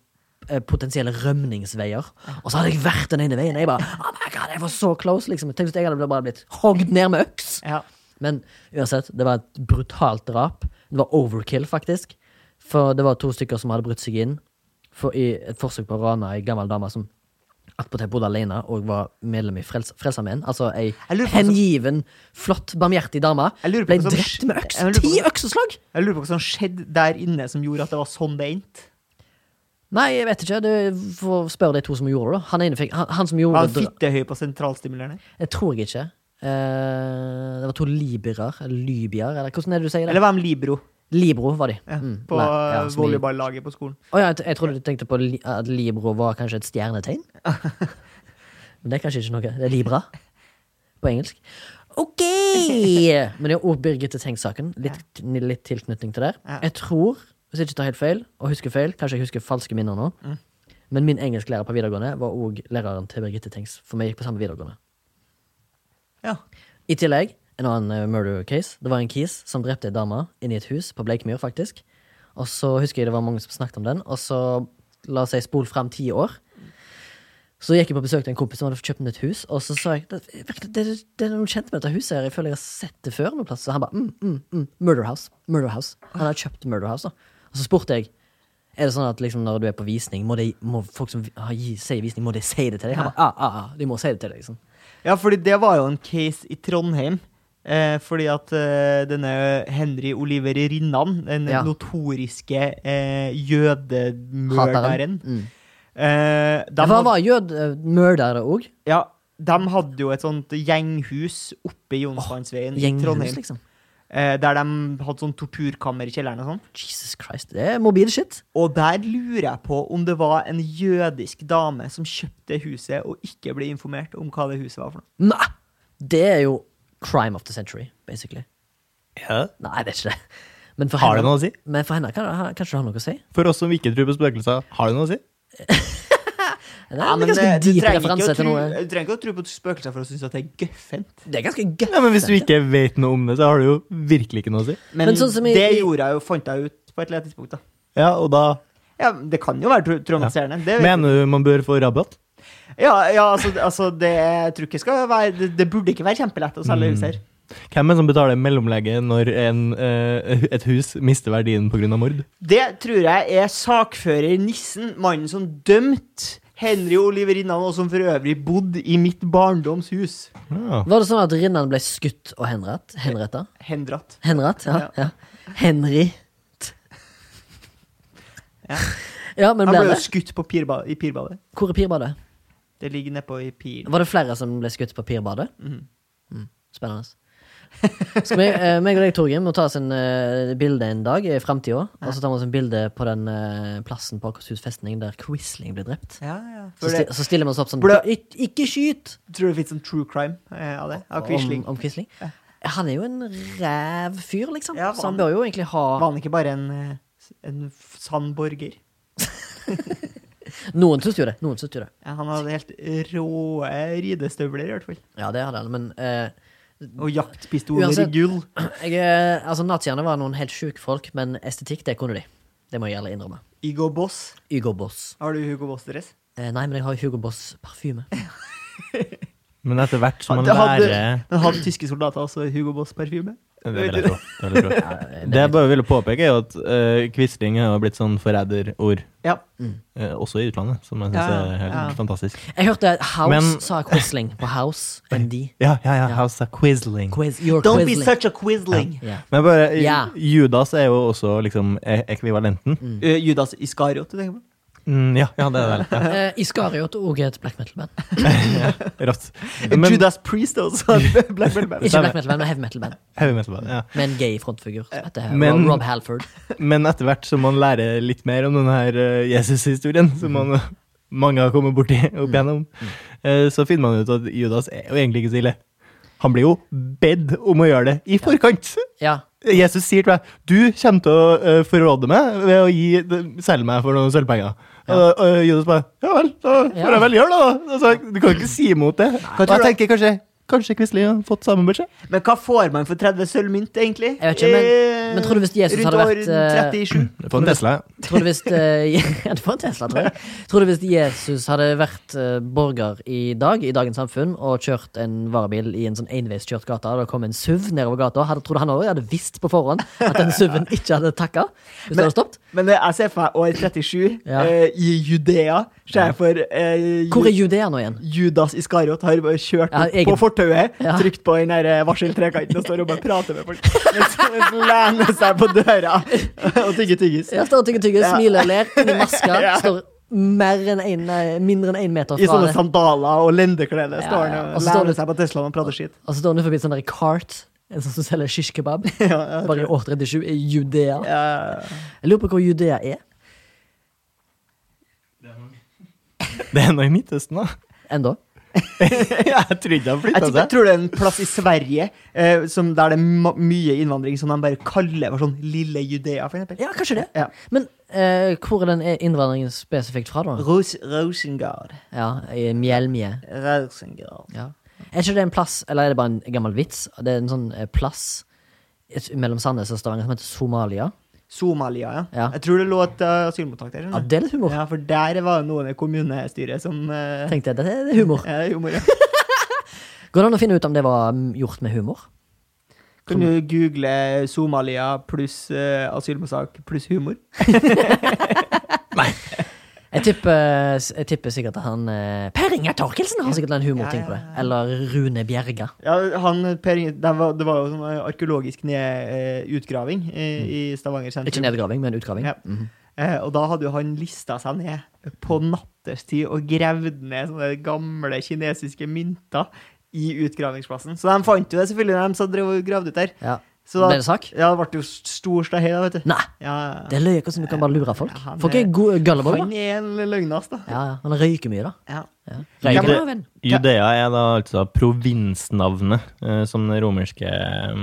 Speaker 2: eh, potensielle rømningsveier, og så hadde jeg vært den ene veien. og Jeg bare, oh my god, jeg var så close, liksom. Tenk hvis jeg hadde bare blitt hogd ned med øks.
Speaker 1: Ja.
Speaker 2: Men uansett, det var et brutalt drap. Det var overkill, faktisk. For det var to stykker som hadde brutt seg inn for, i et forsøk på å rane ei gammel dame som attpåtil bodde alene og var medlem i Frels Frelsesarmeen. Altså ei
Speaker 1: Jeg lurer på hva som-
Speaker 2: hengiven, flott, barmhjertig dame
Speaker 1: sånn- Jeg lurer på
Speaker 2: ble
Speaker 1: hva som
Speaker 2: drept med øks.
Speaker 1: sånn Jeg lurer på
Speaker 2: Ti
Speaker 1: hva som-
Speaker 2: økseslag!
Speaker 1: Jeg lurer på hva som skjedde der inne som gjorde at det var sånn det endte.
Speaker 2: Nei, jeg vet ikke. Du får spørre de to som gjorde det. da. Han ene fikk Han, han som gjorde
Speaker 1: Var han
Speaker 2: dra-
Speaker 1: fittehøy på sentralstimulerende?
Speaker 2: Jeg tror jeg ikke. Eh, det var to libyere. Eller libyer, eller hvordan er det du sier det?
Speaker 1: Eller var han libro
Speaker 2: Libro, var de.
Speaker 1: ja,
Speaker 2: Mm,
Speaker 1: på eh,
Speaker 2: nei, ja, som i-
Speaker 1: volleyballaget på skolen?
Speaker 2: Å ja, jeg, jeg trodde du tenkte på li, at Libro var kanskje et stjernetegn. Men det er kanskje ikke noe. Det er Libra på engelsk. OK! Men det er òg Birgitte Tengs-saken. Litt, litt tilknytning til der.
Speaker 1: Ja.
Speaker 2: Jeg tror, hvis jeg ikke tar helt feil, og husker feil, kanskje jeg husker falske minner nå, men min engelsklærer på videregående var òg læreren til Birgitte Tengs, for vi gikk på samme videregående.
Speaker 1: Ja.
Speaker 2: I tillegg, en annen eh, murder case. Det var en kis som drepte ei dame inni et hus på Bleikmyr, faktisk. Og så husker jeg det var mange som snakket om den, og så la oss si spol frem ti år. Så gikk jeg på besøk til en kompis som hadde kjøpt nytt hus, og så sa jeg det, det, det, det er noe kjent med dette huset her, jeg føler jeg har sett det før noe plass. Så han bare mm, mm, mm, Murder House. Murder House. Han har kjøpt Murder House, da. Og så spurte jeg er det sånn at liksom når du er på visning, må, de, må folk som har- gi- sier visning, må de si det til deg? Han bare, ah, ah, ah, de må si det til deg, liksom.
Speaker 1: Ja, fordi det var jo en case i Trondheim. Eh, fordi at eh, denne Henry Oliver Rinnan, den
Speaker 2: Ja.
Speaker 1: notoriske eh, jødemørderen
Speaker 2: Mm.
Speaker 1: eh, de,
Speaker 2: For han
Speaker 1: had,
Speaker 2: var jød, eh, murderer òg.
Speaker 1: ja, de hadde jo et sånt gjenghus oppe i Jonsvannsveien i
Speaker 2: Gjenghus,
Speaker 1: Mm. Trondheim.
Speaker 2: liksom.
Speaker 1: Eh, der de hadde sånn torturkammer i kjelleren og sånn.
Speaker 2: Jesus Christ, det er mobil shit.
Speaker 1: Og der lurer jeg på om det var en jødisk dame som kjøpte huset og ikke ble informert om hva det huset var for noe.
Speaker 2: Nei! Det er jo crime of the century, basically.
Speaker 3: Ja.
Speaker 2: Nei, det er ikke det. Men for
Speaker 3: Har
Speaker 2: henne,
Speaker 3: det noe å si?
Speaker 2: Men for henne kan, ha- kanskje det har noe å si?
Speaker 3: For oss som ikke tror på spøkelser, har det noe å si?
Speaker 2: Det er en ganske
Speaker 1: det- du
Speaker 2: deep
Speaker 1: trenger ikke å
Speaker 2: referanse til
Speaker 1: tro-
Speaker 2: noe.
Speaker 1: Du trenger ikke å tro på spøkelser for å synes at det er gøffent.
Speaker 2: Det er ganske gøy.
Speaker 3: Ja, Men hvis du ikke vet noe om det, så har det jo virkelig ikke noe å si.
Speaker 1: Men,
Speaker 2: Men sånn som i-
Speaker 1: det
Speaker 2: i-
Speaker 1: gjorde jeg jo, fant jeg ut på et eller annet tidspunkt. da.
Speaker 3: Ja, og da
Speaker 1: Ja, Det kan jo være tra- traumatiserende. Det, vet-
Speaker 3: mener du man bør få rabatt?
Speaker 1: ja, ja, altså, altså det, jeg tror ikke skal være, det, det burde ikke være kjempelett å selge hus her.
Speaker 3: Hvem er det som betaler mellomlegge når en, eh, et hus mister verdien pga. mord?
Speaker 1: Det tror jeg er sakfører Nissen, mannen som dømte Henry Oliver Innan, og som for øvrig bodde i mitt barndomshus.
Speaker 3: Ja.
Speaker 2: Var det sånn at Rinnan ble skutt og henrett? Henretta?
Speaker 1: Hendratt.
Speaker 2: Henrett, ja. ja. Henry. Ja, men
Speaker 1: Han
Speaker 2: ble
Speaker 1: ble jo
Speaker 2: det?
Speaker 1: skutt på pirba, i pirbadet.
Speaker 2: Hvor er pirbadet?
Speaker 1: Det ligger nedpå i piren.
Speaker 2: Var det flere som ble skutt på pirbadet?
Speaker 1: Mhm.
Speaker 2: Mm. Spennende. Skal vi, eh, meg og deg, Torgrim, må ta oss en eh, bilde en dag i framtida. Og så tar vi oss en bilde på den eh, plassen på Akershus festning der Quisling ble drept.
Speaker 1: Ja, ja.
Speaker 2: Så,
Speaker 1: For
Speaker 2: sti,
Speaker 1: det,
Speaker 2: så stiller vi oss opp sånn
Speaker 1: Ble-
Speaker 2: Ik Ikke skyt!
Speaker 1: tror du det finnes en true crime eh, av det? Av Quisling?
Speaker 2: Om, om Quisling. Han er jo en ræv fyr, liksom.
Speaker 1: Ja,
Speaker 2: så han
Speaker 1: var
Speaker 2: bør jo egentlig ha
Speaker 1: Var han ikke bare en, eh, en f- sann borger?
Speaker 2: Noen syns jo det. Noen syns jo det.
Speaker 1: Ja, han hadde helt rå eh, ridestøvler, i hvert fall.
Speaker 2: Ja, det hadde han, men eh,
Speaker 1: Og jaktpistoler
Speaker 2: Uansett-
Speaker 1: i gull.
Speaker 2: jeg, eh, altså, Naziene var noen helt sjuke folk, men estetikk, det kunne de. Det må jeg gjerne innrømme.
Speaker 1: Hugo Boss.
Speaker 2: Hugo Boss.
Speaker 1: Har du Hugo Boss-dress?
Speaker 2: Eh, nei, men jeg har Hugo Boss-parfyme.
Speaker 3: Men etter hvert som man
Speaker 1: Det hadde,
Speaker 3: lærer
Speaker 1: men hadde tyske soldater også Hugo Boss-parfyme?
Speaker 3: Det vil jeg tro. Det vil jeg tro. Det jeg bare ville påpeke, er jo at eh, Quisling har blitt sånn forræderord,
Speaker 1: Ja.
Speaker 3: eh, også i utlandet, som jeg
Speaker 1: Ja,
Speaker 3: syns
Speaker 1: ja,
Speaker 3: er helt
Speaker 1: ja.
Speaker 3: fantastisk.
Speaker 2: Jeg hørte House
Speaker 3: Men-
Speaker 2: sa Quisling på House MD.
Speaker 3: Ja, ja, ja. House of Quisling.
Speaker 2: Quiz, you're
Speaker 1: Don't be
Speaker 2: Quisling.
Speaker 1: such a quisling!
Speaker 2: Ja.
Speaker 3: Men bare eh,
Speaker 2: Ja.
Speaker 3: Judas er jo også liksom e- ekvivalenten.
Speaker 2: Mm.
Speaker 1: Eh, Judas Iskariot, du tenker på?
Speaker 3: Mm, ja, ja, det er det. Ja,
Speaker 2: Eh, Iskariot og et black metal-band.
Speaker 3: rått.
Speaker 1: Men,
Speaker 3: Men
Speaker 1: Judas Priest også. Black Metal Band.
Speaker 2: Ikke black metal-band, men heavy metal-band.
Speaker 3: heavy metal, ja.
Speaker 2: Med en gay frontfigur som heter
Speaker 3: Men-
Speaker 2: Rob, Rob Halford.
Speaker 3: Men etter hvert som man lærer litt mer om denne her eh, Jesus-historien, som man, eh, mange har kommet borti opp igjennom, eh, så finner man ut at Judas er jo egentlig ikke så ille. Han blir jo bedt om å gjøre det i forkant.
Speaker 2: Ja.
Speaker 3: Jesus sier til meg du kommer til å eh, forråde meg ved å gi, selge meg for noen sølvpenger. Og, og Judas bare ja vel, da får
Speaker 2: Ja.
Speaker 3: jeg vel gjøre det, da. Altså, du kan ikke si imot det. Og jeg tenker kanskje Kanskje Quisling har fått samme budsjett?
Speaker 1: Men hva får man for 30 sølvmynt, egentlig? Eh,
Speaker 2: Jeg vet ikke, men- men tror du hvis Jesus
Speaker 1: rundt
Speaker 2: hadde vært, eh,
Speaker 1: år 37?
Speaker 3: Få en Tesla.
Speaker 2: Tror du hvis eh, ja, Det var en Tesla, tror jeg. Tror du hvis Jesus hadde vært eh, borger i dag, i dagens samfunn, og kjørt en varebil i en sånn enveiskjørt gate, og det kom en SUV nedover gata, hadde, tror du han også hadde visst på forhånd at den SUV-en ikke hadde takka? Hvis det hadde stoppet?
Speaker 1: Men eh, jeg ser for meg år 37
Speaker 2: Ja.
Speaker 1: eh, i Judea. Ser jeg for eh, Ju-
Speaker 2: Hvor er Judea nå igjen?
Speaker 1: Judas Iskariot har bare kjørt
Speaker 2: Ja,
Speaker 1: opp
Speaker 2: egen-
Speaker 1: på fortauet,
Speaker 2: Ja.
Speaker 1: trykt på den der, eh, varseltrekanten og står og bare prater med folk. Mens mens han lener seg på døra og tygger tyggis.
Speaker 2: Ja, står og tygger tygger,
Speaker 1: Ja.
Speaker 2: smiler og ler inni maska.
Speaker 1: Ja.
Speaker 2: Står mer enn en, nei, mindre enn én meter
Speaker 1: I
Speaker 2: fra
Speaker 1: sånne
Speaker 2: det.
Speaker 1: sandaler og lendeklede
Speaker 2: Ja,
Speaker 1: står
Speaker 2: ja.
Speaker 1: han
Speaker 2: Og
Speaker 1: og
Speaker 2: så står
Speaker 1: lener
Speaker 2: det-
Speaker 1: seg på Teslaen og prater skitt.
Speaker 2: Og så står han forbi en sånn der cart, en sånn som selger shish kebab,
Speaker 1: Ja,
Speaker 2: bare i år 37, i Judea.
Speaker 1: Ja.
Speaker 2: Jeg lurer på hvor Judea er.
Speaker 3: Det er noe i Midtøsten, da.
Speaker 2: Enda.
Speaker 3: Jeg trodde han
Speaker 1: Jeg,
Speaker 3: flytta
Speaker 1: tipper, jeg
Speaker 3: seg.
Speaker 1: tror det er en plass i Sverige eh, som der det er ma- mye innvandring som de bare kaller for sånn Lille Judea, for eksempel.
Speaker 2: Ja, kanskje det.
Speaker 1: Ja.
Speaker 2: Men eh, hvor er den innvandringen spesifikt fra, da?
Speaker 1: Ros Rosengard.
Speaker 2: Ja, i Mjelmje.
Speaker 1: Rosengard.
Speaker 2: Ja. Er ikke det en plass, eller er det bare en gammel vits? Det er en sånn eh, plass et- mellom Sandnes og Stavanger som heter Somalia.
Speaker 1: Somalia, ja.
Speaker 2: Ja.
Speaker 1: Jeg tror det lå et eh, asylmottak der.
Speaker 2: Ja,
Speaker 1: skjønner du?
Speaker 2: det er litt humor.
Speaker 1: Ja, for der var det noen i kommunestyret som eh,
Speaker 2: Tenkte jeg, det er humor.
Speaker 1: ja, det er humor, ja.
Speaker 2: Går det an å finne ut om det var mm, gjort med humor?
Speaker 1: Kan du google Somalia pluss eh, asylmottak pluss humor?
Speaker 2: Jeg tipper, jeg tipper sikkert at han eh, Per Ingar Torkelsen har sikkert en humorting på det. Eller Rune Bjerga.
Speaker 1: Ja, han, per, Inge- det, var, det var jo sånn eh, arkeologisk ned, eh, utgraving eh, i Stavanger
Speaker 2: Mm.
Speaker 1: sentrum.
Speaker 2: Ikke nedgraving, men Mhm. utgraving.
Speaker 1: Ja. Eh, og da hadde jo han lista seg ned på nattestid og gravd ned sånne gamle kinesiske mynter i utgravingsplassen. Så de fant jo det, selvfølgelig, de som drev og gravde ut der.
Speaker 2: Ja.
Speaker 1: Så da,
Speaker 2: Ble det sak?
Speaker 1: Ja, det ble jo stor stahei, da, vet du.
Speaker 2: Nei!
Speaker 1: Ja, ja, ja.
Speaker 2: Det er løye hvordan du kan bare lure folk.
Speaker 1: Ja, han
Speaker 2: Folk
Speaker 1: er-
Speaker 2: er gode gullible.
Speaker 1: han
Speaker 2: da.
Speaker 1: er en løgnas, da.
Speaker 2: Ja, ja. Han røyker mye, da.
Speaker 1: Ja.
Speaker 2: Ja.
Speaker 3: Ja,
Speaker 2: Røyker,
Speaker 3: men-
Speaker 2: da, venn.
Speaker 3: Judea er da altså provinsnavnet eh, som det romerske eh,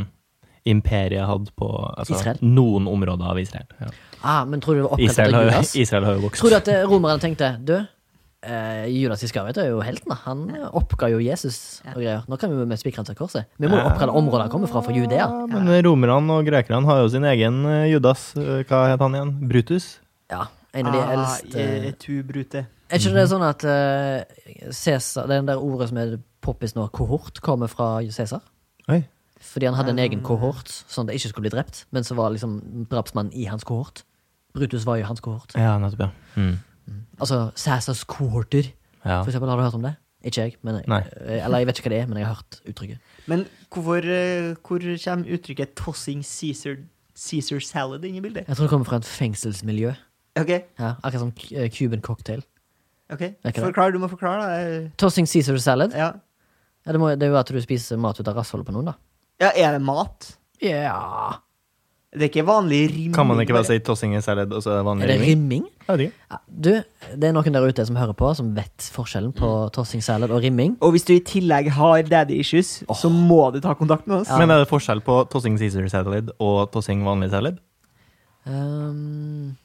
Speaker 3: imperiet hadde på altså,
Speaker 2: Israel.
Speaker 3: noen områder av Israel. Ja.
Speaker 2: Ah, men tror du det var opprettet
Speaker 3: Israel,
Speaker 2: av
Speaker 3: har,
Speaker 2: Judas?
Speaker 3: Israel har jo vokst.
Speaker 2: Tror du at eh, romerne tenkte Du, eh, Judas Iskariot er jo helten. da. Han eh, oppga jo Jesus og greier. Nå kan vi jo med spikrene til korset. Vi
Speaker 3: Ah.
Speaker 2: må jo oppkalle området han kommer fra, for Judea.
Speaker 3: Ja, men romerne og grekerne har jo sin egen eh, Judas. Eh, Hva het han igjen? Brutus?
Speaker 2: Ja, en av de eldste
Speaker 1: Ah, eh, tu brute.
Speaker 2: Er ikke det sånn at eh, Cæsar Det der ordet som er poppis nå, kohort, kommer fra Cæsar?
Speaker 3: Oi.
Speaker 2: Fordi han hadde en egen kohort, sånn at det ikke skulle bli drept. Men så var liksom drapsmannen i hans kohort. Brutus var jo hans kohort.
Speaker 3: Ja, nettopp, ja. Mm.
Speaker 2: Altså Cæsars kohorter.
Speaker 3: ja.
Speaker 2: For eksempel, har du hørt om det? Ikke jeg, men jeg, eh,
Speaker 3: Nei.
Speaker 2: eller jeg vet ikke hva det er, men jeg har hørt uttrykket.
Speaker 1: Men hvorfor, eh, hvor kommer uttrykket 'tossing Caesar, Caesar salad' inn i bildet?
Speaker 2: Jeg tror det kommer fra et fengselsmiljø.
Speaker 1: OK,
Speaker 2: Ja, akkurat som k- eh, Cuban cocktail.
Speaker 1: ok,
Speaker 2: ikke det.
Speaker 1: forklar. Du må forklare,
Speaker 2: Tossing Caesar salad.
Speaker 1: da. Ja.
Speaker 2: Ja, det, må, det er jo at du spiser mat ut av rassholdet på noen, da.
Speaker 1: ja, er det mat?
Speaker 2: Ja
Speaker 1: Det er ikke vanlig rim.
Speaker 3: Kan man ikke bare si 'tossing i salad' og så er det
Speaker 2: Er
Speaker 3: vanlig
Speaker 2: det
Speaker 3: rim?
Speaker 2: rimming?
Speaker 3: Jeg vet ikke.
Speaker 2: Ja, du, det er noen der ute som hører på, som vet forskjellen på tossing salad og rimming.
Speaker 1: Og hvis du i tillegg har daddy issues, så må du ta kontakt med oss.
Speaker 3: Men eh, er det forskjell på tossing Caesar salad og tossing vanlig salad?
Speaker 2: Ehm,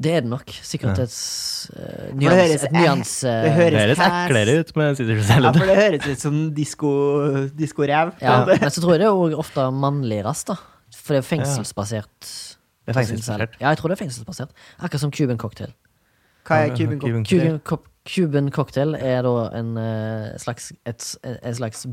Speaker 2: Det er det nok. Sikkert et, s- eh,
Speaker 1: For det høres-
Speaker 2: nyans, et nyans... eh,
Speaker 1: det høres-
Speaker 3: Det høres
Speaker 1: Fast.
Speaker 3: eklere ut med Cedar
Speaker 1: Ja,
Speaker 3: Salad.
Speaker 1: for det høres ut som disko- diskorev.
Speaker 2: ja, men så tror jeg det er jo ofte mannlig rass, da. For det er fengselsbasert.
Speaker 3: Det er fengselsbasert.
Speaker 2: Ja, jeg tror det er fengselsbasert. Akkurat som Cuban cocktail.
Speaker 1: Hva er Cuban Cup?
Speaker 3: Cuban cocktail.
Speaker 2: Cuban, co- Cuban cocktail er da en eh, slags, et, en slags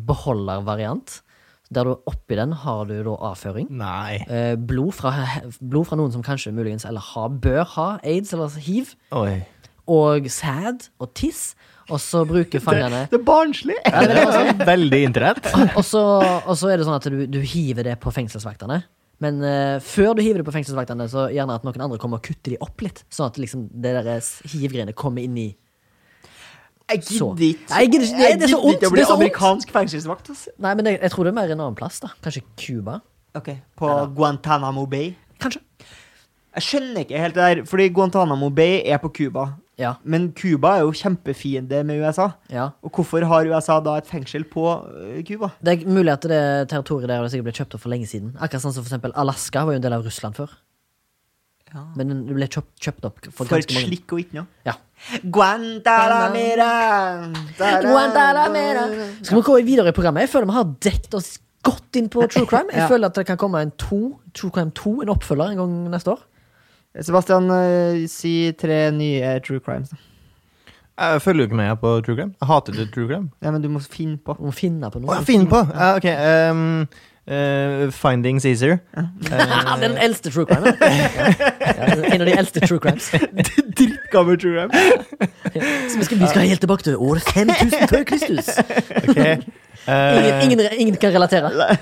Speaker 2: beholdervariant. Der du oppi den har du da avføring.
Speaker 3: Nei.
Speaker 2: Eh, blod, fra, blod fra noen som kanskje muligens eller har, bør ha aids eller altså hiv.
Speaker 3: Oi.
Speaker 2: Og sæd og tiss. Og så bruker fangene
Speaker 1: Det er barnslig!
Speaker 3: Det var veldig internett.
Speaker 2: og, så, og så er det sånn at du, du hiver det på fengselsvaktene. Men eh, før du hiver det på fengselsvaktene, så gjerne at noen andre kommer og kutter de opp litt. Sånn at liksom det deres hivgreiene kommer inn i
Speaker 1: Jeg
Speaker 2: Så.
Speaker 1: gidder ikke.
Speaker 2: Nei, jeg gidder ikke. Det er så
Speaker 1: gidder
Speaker 2: ondt.
Speaker 1: ikke å bli
Speaker 2: Det er så ondt.
Speaker 1: amerikansk fengselsvakt. ass.
Speaker 2: Nei, men jeg, jeg tror det er mer en annen plass. da Kanskje Cuba?
Speaker 1: Ok, På Guantánamo Bay.
Speaker 2: Kanskje.
Speaker 1: Jeg skjønner ikke helt det der, fordi Guantánamo Bay er på Cuba.
Speaker 2: Ja.
Speaker 1: Men Cuba er jo kjempefiende med USA.
Speaker 2: ja
Speaker 1: Og hvorfor har USA da et fengsel på øh, Cuba?
Speaker 2: Det er mulig at det territoriet der har sikkert ble kjøpt opp for lenge siden. Akkurat sånn som for eksempel Alaska var jo en del av Russland før. Men det ble kjøpt, kjøpt opp for,
Speaker 1: For et
Speaker 2: ganske mange
Speaker 1: slikk og ikke noe.
Speaker 2: Ja.
Speaker 1: Guantanamera!
Speaker 2: Guantanamera. Skal vi gå videre i programmet? Jeg føler vi har dekket oss godt inn på true crime. Jeg
Speaker 1: Ja.
Speaker 2: føler at det kan komme en to, True Crime 2, en oppfølger en gang neste år.
Speaker 1: Sebastian, øh, si tre nye true crimes. da.
Speaker 3: Jeg følger jo ikke med på true crime. Jeg hater det true crime.
Speaker 1: Ja, men du må finne på.
Speaker 2: Vi må finne på
Speaker 3: Å,
Speaker 2: noe.
Speaker 3: jeg finner på! Ja, ok. ehm, eh, Finding Cæsar.
Speaker 2: Ah, det er den eldste true crime. da. Ja, det er en av de eldste true crimes.
Speaker 1: Drittgammel true crime.
Speaker 2: Så vi skal, vi skal helt tilbake til år 5000 før Kristus.
Speaker 3: Ok.
Speaker 2: Ingen,
Speaker 3: Eh,
Speaker 2: ingen, ingen kan relatere.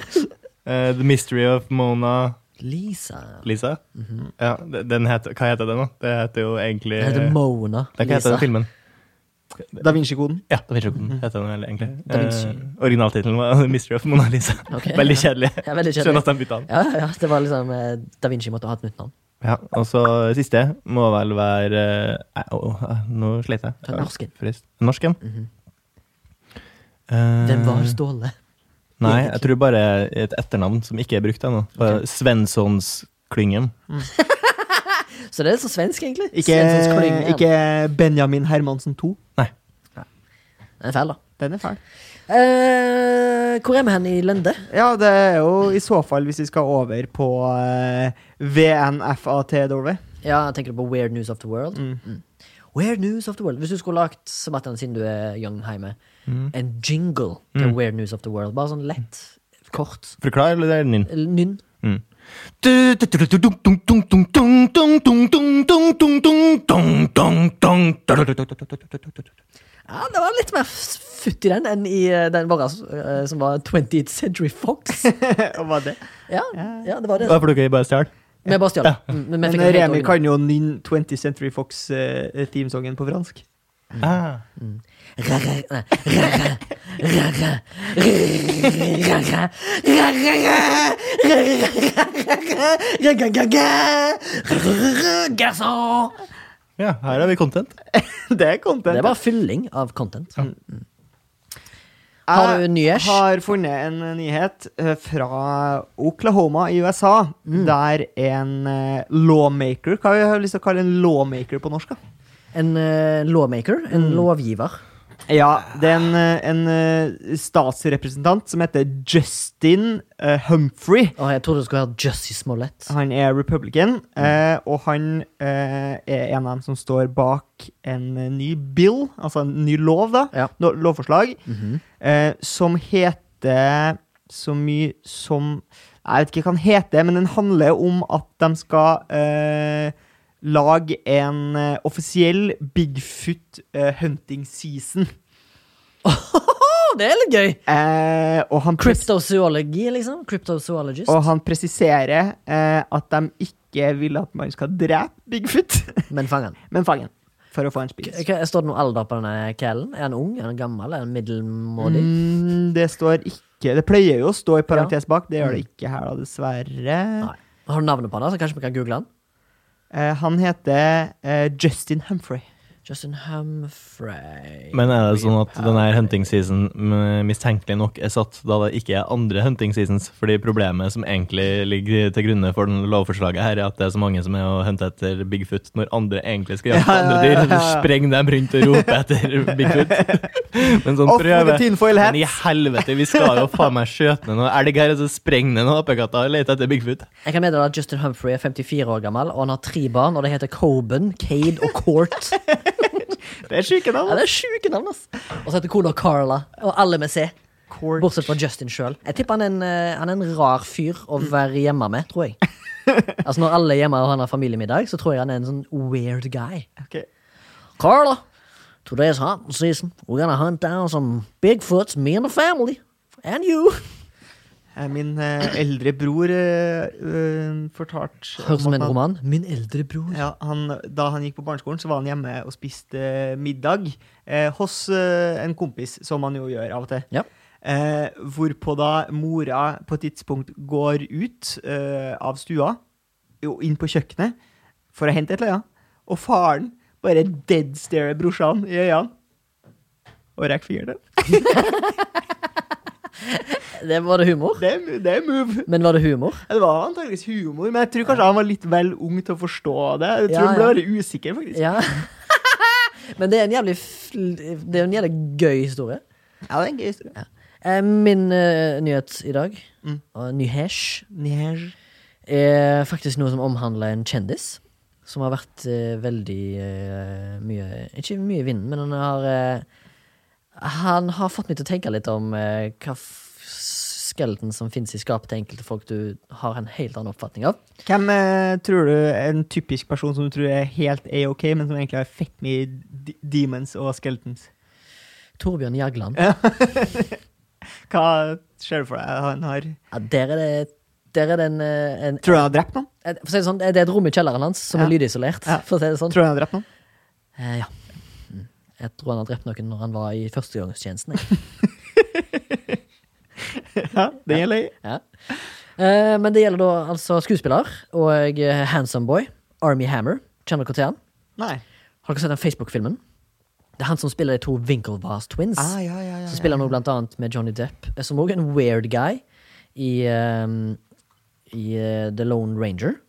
Speaker 3: eh, The Mystery of Mona
Speaker 2: Lisa.
Speaker 3: Lisa. Ja, de- den heter, hva heter den, da? Det heter jo egentlig
Speaker 2: Det Mhm. heter
Speaker 3: eh,
Speaker 2: Mona.
Speaker 3: Det er
Speaker 2: Lisa. Mhm.
Speaker 3: ikke heter den filmen.
Speaker 1: Da Vinci-koden.
Speaker 3: Ja, Da Vinci Code heter den vel egentlig.
Speaker 2: Da Vinci.
Speaker 3: Eh, Originaltittelen var The Mystery of Mona Lisa.
Speaker 2: Ok.
Speaker 3: Veldig kjedelig.
Speaker 2: Ja, veldig kjedelig.
Speaker 3: Skjønner at de bytta den.
Speaker 2: Ja, ja, det var liksom eh, Da Vinci måtte ha et nytt navn.
Speaker 3: Ja, og så siste må vel være eh, nei, å, å, Nå slet jeg.
Speaker 2: Ta norsken.
Speaker 3: Frist. Norsken? Eh,
Speaker 1: Mm.
Speaker 2: Hvem var Ståle?
Speaker 3: Nei, jeg tror bare et etternavn som ikke er brukt ennå. Bare Svenssonsklyngen.
Speaker 2: Så det sånn er så svensk, egentlig.
Speaker 1: Ikke,
Speaker 2: Svenssons Klynge.
Speaker 1: ikke Benjamin Hermansen 2.
Speaker 3: Nei.
Speaker 2: Den er feil, da.
Speaker 1: Den er fæl.
Speaker 2: Eh, hvor er vi hen i lende?
Speaker 1: Ja, det er jo i så fall hvis vi skal over på eh, VNFAT Doorway.
Speaker 2: Ja, jeg tenker du på Weird News of the World? Mm. Weird News of the World Hvis du skulle lagt, Sebastian, siden du er young hjemme,
Speaker 1: Mm.
Speaker 2: en jingle til Weird News of the World. Bare sånn lett, kort.
Speaker 3: Forklar, eller det er din?
Speaker 2: Eller Nynn.
Speaker 3: Nei,
Speaker 2: Ja, det var litt mer f- futt i den enn i eh, den våre eh, som var 20th Century Fox.
Speaker 1: Hva var det?
Speaker 2: ja, ja, det var det.
Speaker 3: for dere bare stjal.
Speaker 2: Vi bare stjal. Mm, men vi
Speaker 1: Men
Speaker 2: fikk den helt
Speaker 1: Remi
Speaker 2: original.
Speaker 1: kan jo nynne 20th Century Fox-themesongen på fransk.
Speaker 3: Ah.
Speaker 2: Garçon!
Speaker 3: Ja, her har vi content.
Speaker 1: det er content.
Speaker 2: Det var fylling av content. Har du en
Speaker 1: Jeg
Speaker 2: nyers?
Speaker 1: har funnet en nyhet eh, fra Oklahoma i USA,
Speaker 2: Mm.
Speaker 1: der en eh, lawmaker Hva har vi lyst til å kalle en lawmaker på norsk? da?
Speaker 2: En eh, lawmaker? En lovgiver?
Speaker 1: Ja, det er en, eh, en eh, statsrepresentant som heter Justin eh, Humphrey.
Speaker 2: Å, jeg trodde du skulle ha Jussie Smollett.
Speaker 1: Han er republican, eh, og han eh, er en av dem som står bak en eh, ny bill, altså en ny lov, da,
Speaker 2: Ja.
Speaker 1: no- lovforslag, eh, som heter så mye som Jeg vet ikke hva den heter, men den handler om at de skal eh, lage en eh, offisiell Bigfoot eh, hunting season.
Speaker 2: Å, det er litt gøy!
Speaker 1: Eh, og han pres-
Speaker 2: Kryptozoologi, liksom? Kryptozoologist.
Speaker 1: Og han presiserer eh, at de ikke vil at man skal drepe Bigfoot,
Speaker 2: Men fang han.
Speaker 1: men fange han for å få en
Speaker 2: K-
Speaker 1: spiss.
Speaker 2: k- Står det noe alder på denne kellen? Er han ung? Er han gammel? Er han middelmådig?
Speaker 1: Mm, det står ikke Det pleier jo å stå i parentes bak, det gjør det ikke her, da, dessverre.
Speaker 2: Mm. Nei. Har du navnet på han, da, så kanskje vi kan google han?
Speaker 1: Eh, han heter eh, Justin Humphrey.
Speaker 7: Justin Humphrey
Speaker 3: Men er det sånn at denne hunting season mm, mistenkelig nok er satt da det ikke er andre hunting seasons? Fordi problemet som egentlig ligger til grunne for den lovforslaget her, er at det er så mange som er å hente etter Bigfoot når andre egentlig skal
Speaker 1: Ja,
Speaker 3: jakte
Speaker 1: ja,
Speaker 3: andre
Speaker 1: ja,
Speaker 3: dyr.
Speaker 1: ja.
Speaker 3: Så sprenger dem rundt og roper etter Bigfoot. Men sånn
Speaker 1: Off with the
Speaker 3: prøve.
Speaker 1: tinfoil
Speaker 3: Men i
Speaker 1: hats.
Speaker 3: helvete, vi skal jo faen meg skjøte ned noe elg her, og så sprenger ned noen apekatter og leter etter Bigfoot.
Speaker 2: Jeg kan meddele at Justin Humphrey er 54 år gammel, og han har tre barn, og de heter Coben, Cade og Court.
Speaker 3: Det er sjuke
Speaker 2: Ja,
Speaker 3: navn.
Speaker 2: det er sjuke navn, ass. Og så heter kona Carla, og alle med C. Bortsett fra Justin sjøl. Jeg tipper han er, en, eh, han er en rar fyr å være hjemme med, tror jeg. Altså Når alle er hjemme og han har familiemiddag, så tror jeg han er en sånn weird guy.
Speaker 1: Okay.
Speaker 2: Carla, today's hunting season. We're gonna hunt down some Bigfoots, me and the family. And you.
Speaker 1: Eh, Min eh, eldre bror eh, eh, fortalte om
Speaker 2: Høres som
Speaker 1: at
Speaker 2: en
Speaker 1: han-
Speaker 2: roman. Min eldre bror.
Speaker 1: Ja, han, da han gikk på barneskolen, så var han hjemme og spiste eh, middag eh, hos eh, en kompis, som han jo gjør av og til.
Speaker 2: Ja.
Speaker 1: Eh, hvorpå da mora på et tidspunkt går ut eh, av stua og inn på kjøkkenet for å hente et eller annet, og faren bare deadstarer brorsan i øynene. Og rekker fingeren.
Speaker 2: Det Var det humor?
Speaker 1: Det, er- det er move.
Speaker 2: Men var det humor?
Speaker 1: Ja, Det var antakeligvis humor, men jeg tror kanskje han var litt vel ung til å forstå det. Jeg tror
Speaker 2: Ja,
Speaker 1: han ble
Speaker 2: ja.
Speaker 1: veldig usikker, faktisk.
Speaker 2: Ja. Men det er en jævlig fl- Det er en jævlig gøy historie.
Speaker 1: Ja, det er en gøy historie.
Speaker 2: Eh, Min eh, nyhet i dag,
Speaker 1: Mm.
Speaker 2: og nyhesj,
Speaker 1: Njer.
Speaker 2: er faktisk noe som omhandler en kjendis. Som har vært eh, veldig eh, mye Ikke mye i vinden, men han har eh, Han har fått meg til å tenke litt om eh, hva f- skeleton som finnes i skapet til enkelte folk du har en helt annen oppfatning av.
Speaker 1: Hvem eh, tror du er en typisk person som du tror er helt A-OK, men som egentlig har fett mye d- demons og skeletons?
Speaker 2: Torbjørn Jagland.
Speaker 1: Hva ser du for deg han har?
Speaker 2: Ja, der er det, der er det en, eh, en
Speaker 1: Tror du han har drept noen?
Speaker 2: Eh, For å si det sånn, det er et rom i kjelleren hans som er
Speaker 1: Ja.
Speaker 2: lydisolert.
Speaker 1: Ja.
Speaker 2: For å si det sånn.
Speaker 1: Tror du han har drept noen?
Speaker 2: Eh, ja. Mm. Jeg tror han har drept noen når han var i førstegangstjenesten. jeg.
Speaker 1: Ja, det gjelder jeg.
Speaker 2: Ja. Eh, men det gjelder da altså skuespiller og eh, handsome boy, Army Hammer. Kjenner dere til han?
Speaker 1: Nei.
Speaker 2: Har dere sett den Facebook-filmen? Det er han som spiller de to Winklevoss Twins.
Speaker 1: Ah, ja, ja, ja,
Speaker 2: Så spiller han nå blant annet med Johnny Depp, eh, som òg er en weird guy i, ehm, i eh, The Lone Ranger.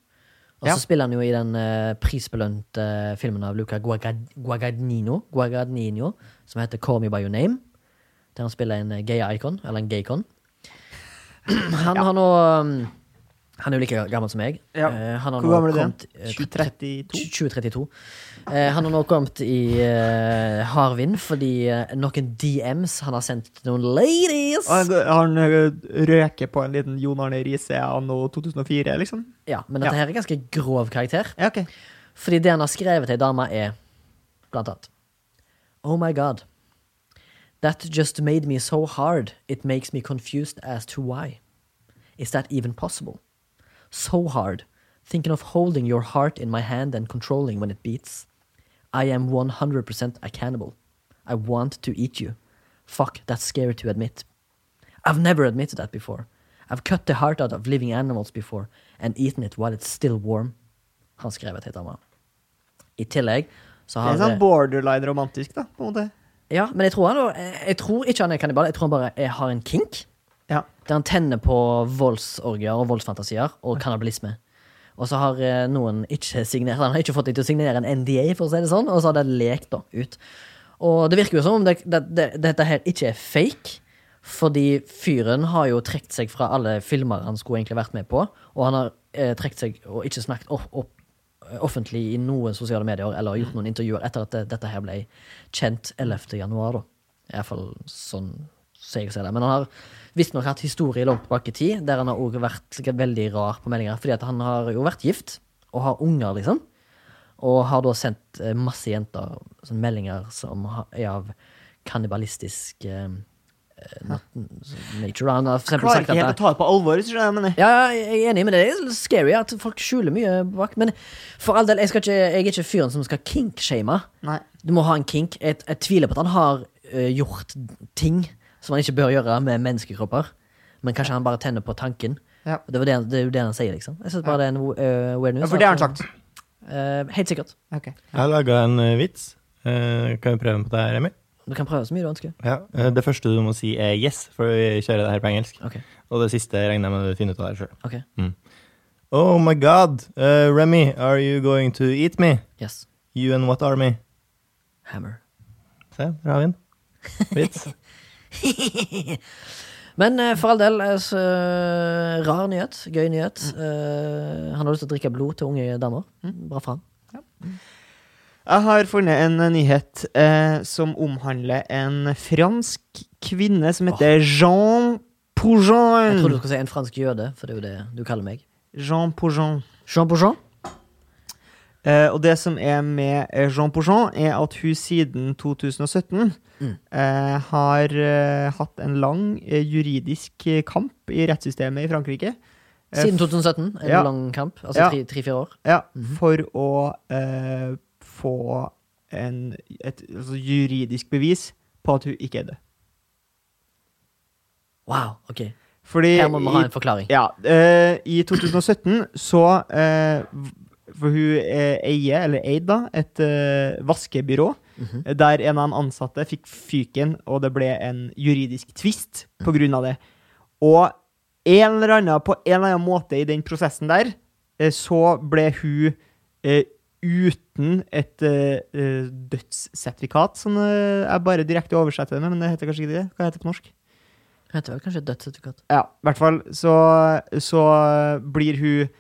Speaker 2: Og
Speaker 1: Ja.
Speaker 2: så spiller han jo i den eh, prisbelønte uh, filmen av Luca Guagad- Guadagnino, Guadagnino, som heter Call Me By Your Name. Der han spiller en eh, gay icon, eller en gaycon. Han har nå ehm, Han er jo like gammel som meg.
Speaker 1: Ja.
Speaker 2: Eh, han har
Speaker 1: Hvor
Speaker 2: nå
Speaker 1: gammel er det?
Speaker 2: kommet, eh,
Speaker 1: 2032?
Speaker 2: 2032. Eh, han har nå kommet i eh, hard vind fordi eh, noen DMs han har sendt til noen ladies.
Speaker 1: Og han, han eh, røker på en liten Jon Arne Riise anno 2004, liksom?
Speaker 2: Ja, Men dette
Speaker 1: Ja.
Speaker 2: her er ganske grov karakter.
Speaker 1: Ja, ok.
Speaker 2: Fordi det han har skrevet til ei dame, er blant annet Oh my god. That just made me so hard it makes me confused as to why. Is that even possible? So hard, thinking of holding your heart in my hand and controlling when it beats. I am 100% a cannibal. I want to eat you. Fuck, that's scary to admit. I've never admitted that before. I've cut the heart out of living animals before and eaten it while it's still warm. Han skrev et helt annet. I tillegg så
Speaker 1: Det
Speaker 2: har
Speaker 1: er sånn borderline romantisk, da, på en måte.
Speaker 2: ja, men jeg tror, han, eh, jeg tror ikke han er kannibal. Jeg tror han bare er, har en kink.
Speaker 1: Ja.
Speaker 2: Der han tenner på voldsorgier og voldsfantasier og kannibalisme. Og så har eh, noen ikke signert Han har ikke fått deg til å signere en NDA, for å si det sånn, og så har det lekt da ut. Og det virker jo som om det, det, det, dette her ikke er fake, fordi fyren har jo trukket seg fra alle filmer han skulle egentlig vært med på, og han har eh, trukket seg og ikke snakket opp, opp offentlig i noen sosiale medier eller gjort noen intervjuer etter at det, dette her ble kjent 11. januar, da. Iallfall sånn som jeg ser det. Men han har visstnok hatt historie langt tilbake i tid, der han har også vært veldig rar på meldinger. Fordi at han har jo vært gift, og har unger, liksom. Og har da sendt eh, masse jenter sånn meldinger som ha- er av kannibalistisk eh, eh, nat- nature. Han har for eksempel
Speaker 1: Klarer
Speaker 2: sagt
Speaker 1: ikke
Speaker 2: at
Speaker 1: helt å ta det på alvor, hvis du skjønner hva jeg mener.
Speaker 2: ja, ja, jeg er enig, men det er litt scary at folk skjuler mye bak. Men for all del, jeg, skal ikke, jeg er ikke fyren som skal kinkshame.
Speaker 1: Nei.
Speaker 2: Du må ha en kink. Jeg, jeg tviler på at han har eh, gjort ting som han ikke bør gjøre med menneskekropper. Men kanskje han bare tenner på tanken.
Speaker 1: Ja.
Speaker 2: Det, var det, han- det er jo det han sier, liksom. Jeg synes bare det er en uh, weird news.
Speaker 1: Ja, for det har
Speaker 2: at-
Speaker 1: han sagt.
Speaker 2: Eh, helt sikkert.
Speaker 1: Ok.
Speaker 3: Jeg laga en eh, vits Eh, kan vi prøve på det her, Emil?
Speaker 2: Du kan prøve så mye du ønsker.
Speaker 3: Ja. Eh, det første du må si, er yes, for vi kjører det her på engelsk.
Speaker 2: Ok,
Speaker 3: Og det siste regner jeg med du finner ut av det sjøl.
Speaker 2: ok,
Speaker 3: Oh my god, uh, Remy, are you going to eat me?
Speaker 2: yes.
Speaker 3: You and what army?
Speaker 2: Hammer.
Speaker 3: Se, der har vi den. Vits.
Speaker 2: Men eh, for all del, eh, så, eh, rar nyhet. Gøy nyhet.
Speaker 1: Mm.
Speaker 2: Eh, han har lyst til å drikke blod til unge damer. Bra for han.
Speaker 1: Mm. Jeg har funnet en eh, nyhet eh, som omhandler en fransk kvinne som heter Jean
Speaker 2: Jeg trodde du
Speaker 1: Poujon.
Speaker 2: skulle si en fransk jøde, for det er jo det du kaller meg.
Speaker 1: Jean Poujon.
Speaker 2: Jean Bourgeon?
Speaker 1: Eh, og det som er med eh, Jean Poujon, er at hun siden 2017
Speaker 2: Mm.
Speaker 1: eh, har eh, hatt en lang eh, juridisk eh, kamp i rettssystemet i Frankrike. Eh,
Speaker 2: Siden 2017. En
Speaker 1: Ja.
Speaker 2: lang kamp. Altså
Speaker 1: Ja.
Speaker 2: tre- tre-fire år.
Speaker 1: Ja, for å eh, få en, et altså, juridisk bevis på at hun ikke er død.
Speaker 2: Wow, ok.
Speaker 1: Fordi
Speaker 2: Her må vi ha
Speaker 1: Eh, i-
Speaker 2: en forklaring.
Speaker 1: Ja, eh, I 2017 så eh, For hun eh, eier, eller eide, da, et eh, vaskebyrå. Der en av de ansatte fikk fyken, og det ble en juridisk tvist på grunn av det. Og en eller annen, på en eller annen måte i den prosessen der, eh, så ble hun eh, uten et eh, eh, dødssertifikat, som eh, jeg bare direkte oversetter det med, men det heter kanskje ikke det? Hva heter det på norsk?
Speaker 2: Det heter vel kanskje et dødssertifikat.
Speaker 1: Ja, i hvert fall så, så blir hun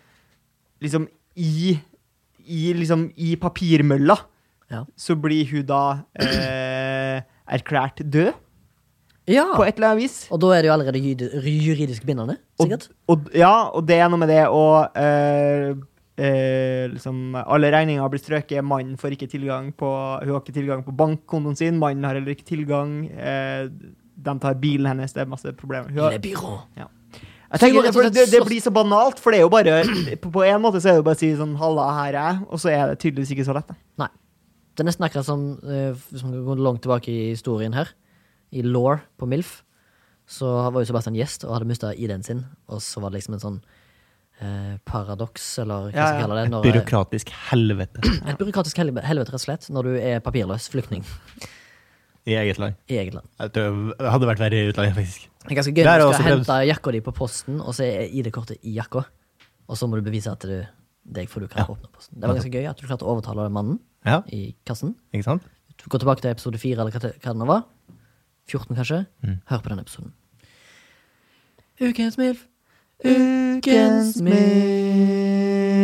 Speaker 1: liksom i, i liksom i papirmølla
Speaker 2: Ja.
Speaker 1: så blir hun da eh, erklært død
Speaker 2: Ja!
Speaker 1: på et eller annet vis.
Speaker 2: Og da er det jo allerede jyd- juridisk bindende,
Speaker 1: Og,
Speaker 2: sikkert.
Speaker 1: og, ja, og det er noe med det å eh, eh, liksom, Alle regninger blir strøket, mannen får ikke tilgang på Hun har ikke tilgang på bankkontoen sin, mannen har heller ikke tilgang. Eh, de tar bilen hennes, det er masse problemer. Hun har,
Speaker 2: Le Biron. Så
Speaker 1: Jeg
Speaker 2: du må
Speaker 1: tenker,
Speaker 2: rett og
Speaker 1: for
Speaker 2: slett
Speaker 1: det, det
Speaker 2: slåss-
Speaker 1: blir så banalt, for det er jo bare På, på en måte så er det jo bare å si sånn 'halla, her er jeg', og så er det tydeligvis ikke så lett. Da.
Speaker 2: Nei. Det er nesten akkurat som eh, Hvis man går langt tilbake i historien her, i law på MILF, så var jo Sebastian gjest og hadde mista ID-en sin, og så var det liksom en sånn eh, paradoks, eller hva
Speaker 1: Ja,
Speaker 2: skal
Speaker 1: ja.
Speaker 2: jeg kalle det? når- eh,
Speaker 3: Byråkratisk helvete
Speaker 2: et byråkratisk helve- helvete, rett og slett, når du er papirløs flyktning
Speaker 3: i eget land.
Speaker 2: i eget land.
Speaker 3: Jeg tror Det hadde vært verre i utlandet, faktisk.
Speaker 2: Det er ganske gøy
Speaker 3: Det er
Speaker 2: når du
Speaker 3: også
Speaker 2: skal
Speaker 3: prøvd.
Speaker 2: hente jakka di på posten, og så er ID-kortet i jakka, og så må du bevise at du deg, for du kan åpne posten. Det var ganske gøy at du klarte å overtale mannen
Speaker 3: Ja,
Speaker 2: i kassen.
Speaker 3: ikke sant?
Speaker 2: Du går tilbake til episode 4, eller hva det- hva den var. 14, kanskje.
Speaker 1: Mm.
Speaker 2: Hør på den episoden. Ukens MILF. Ukens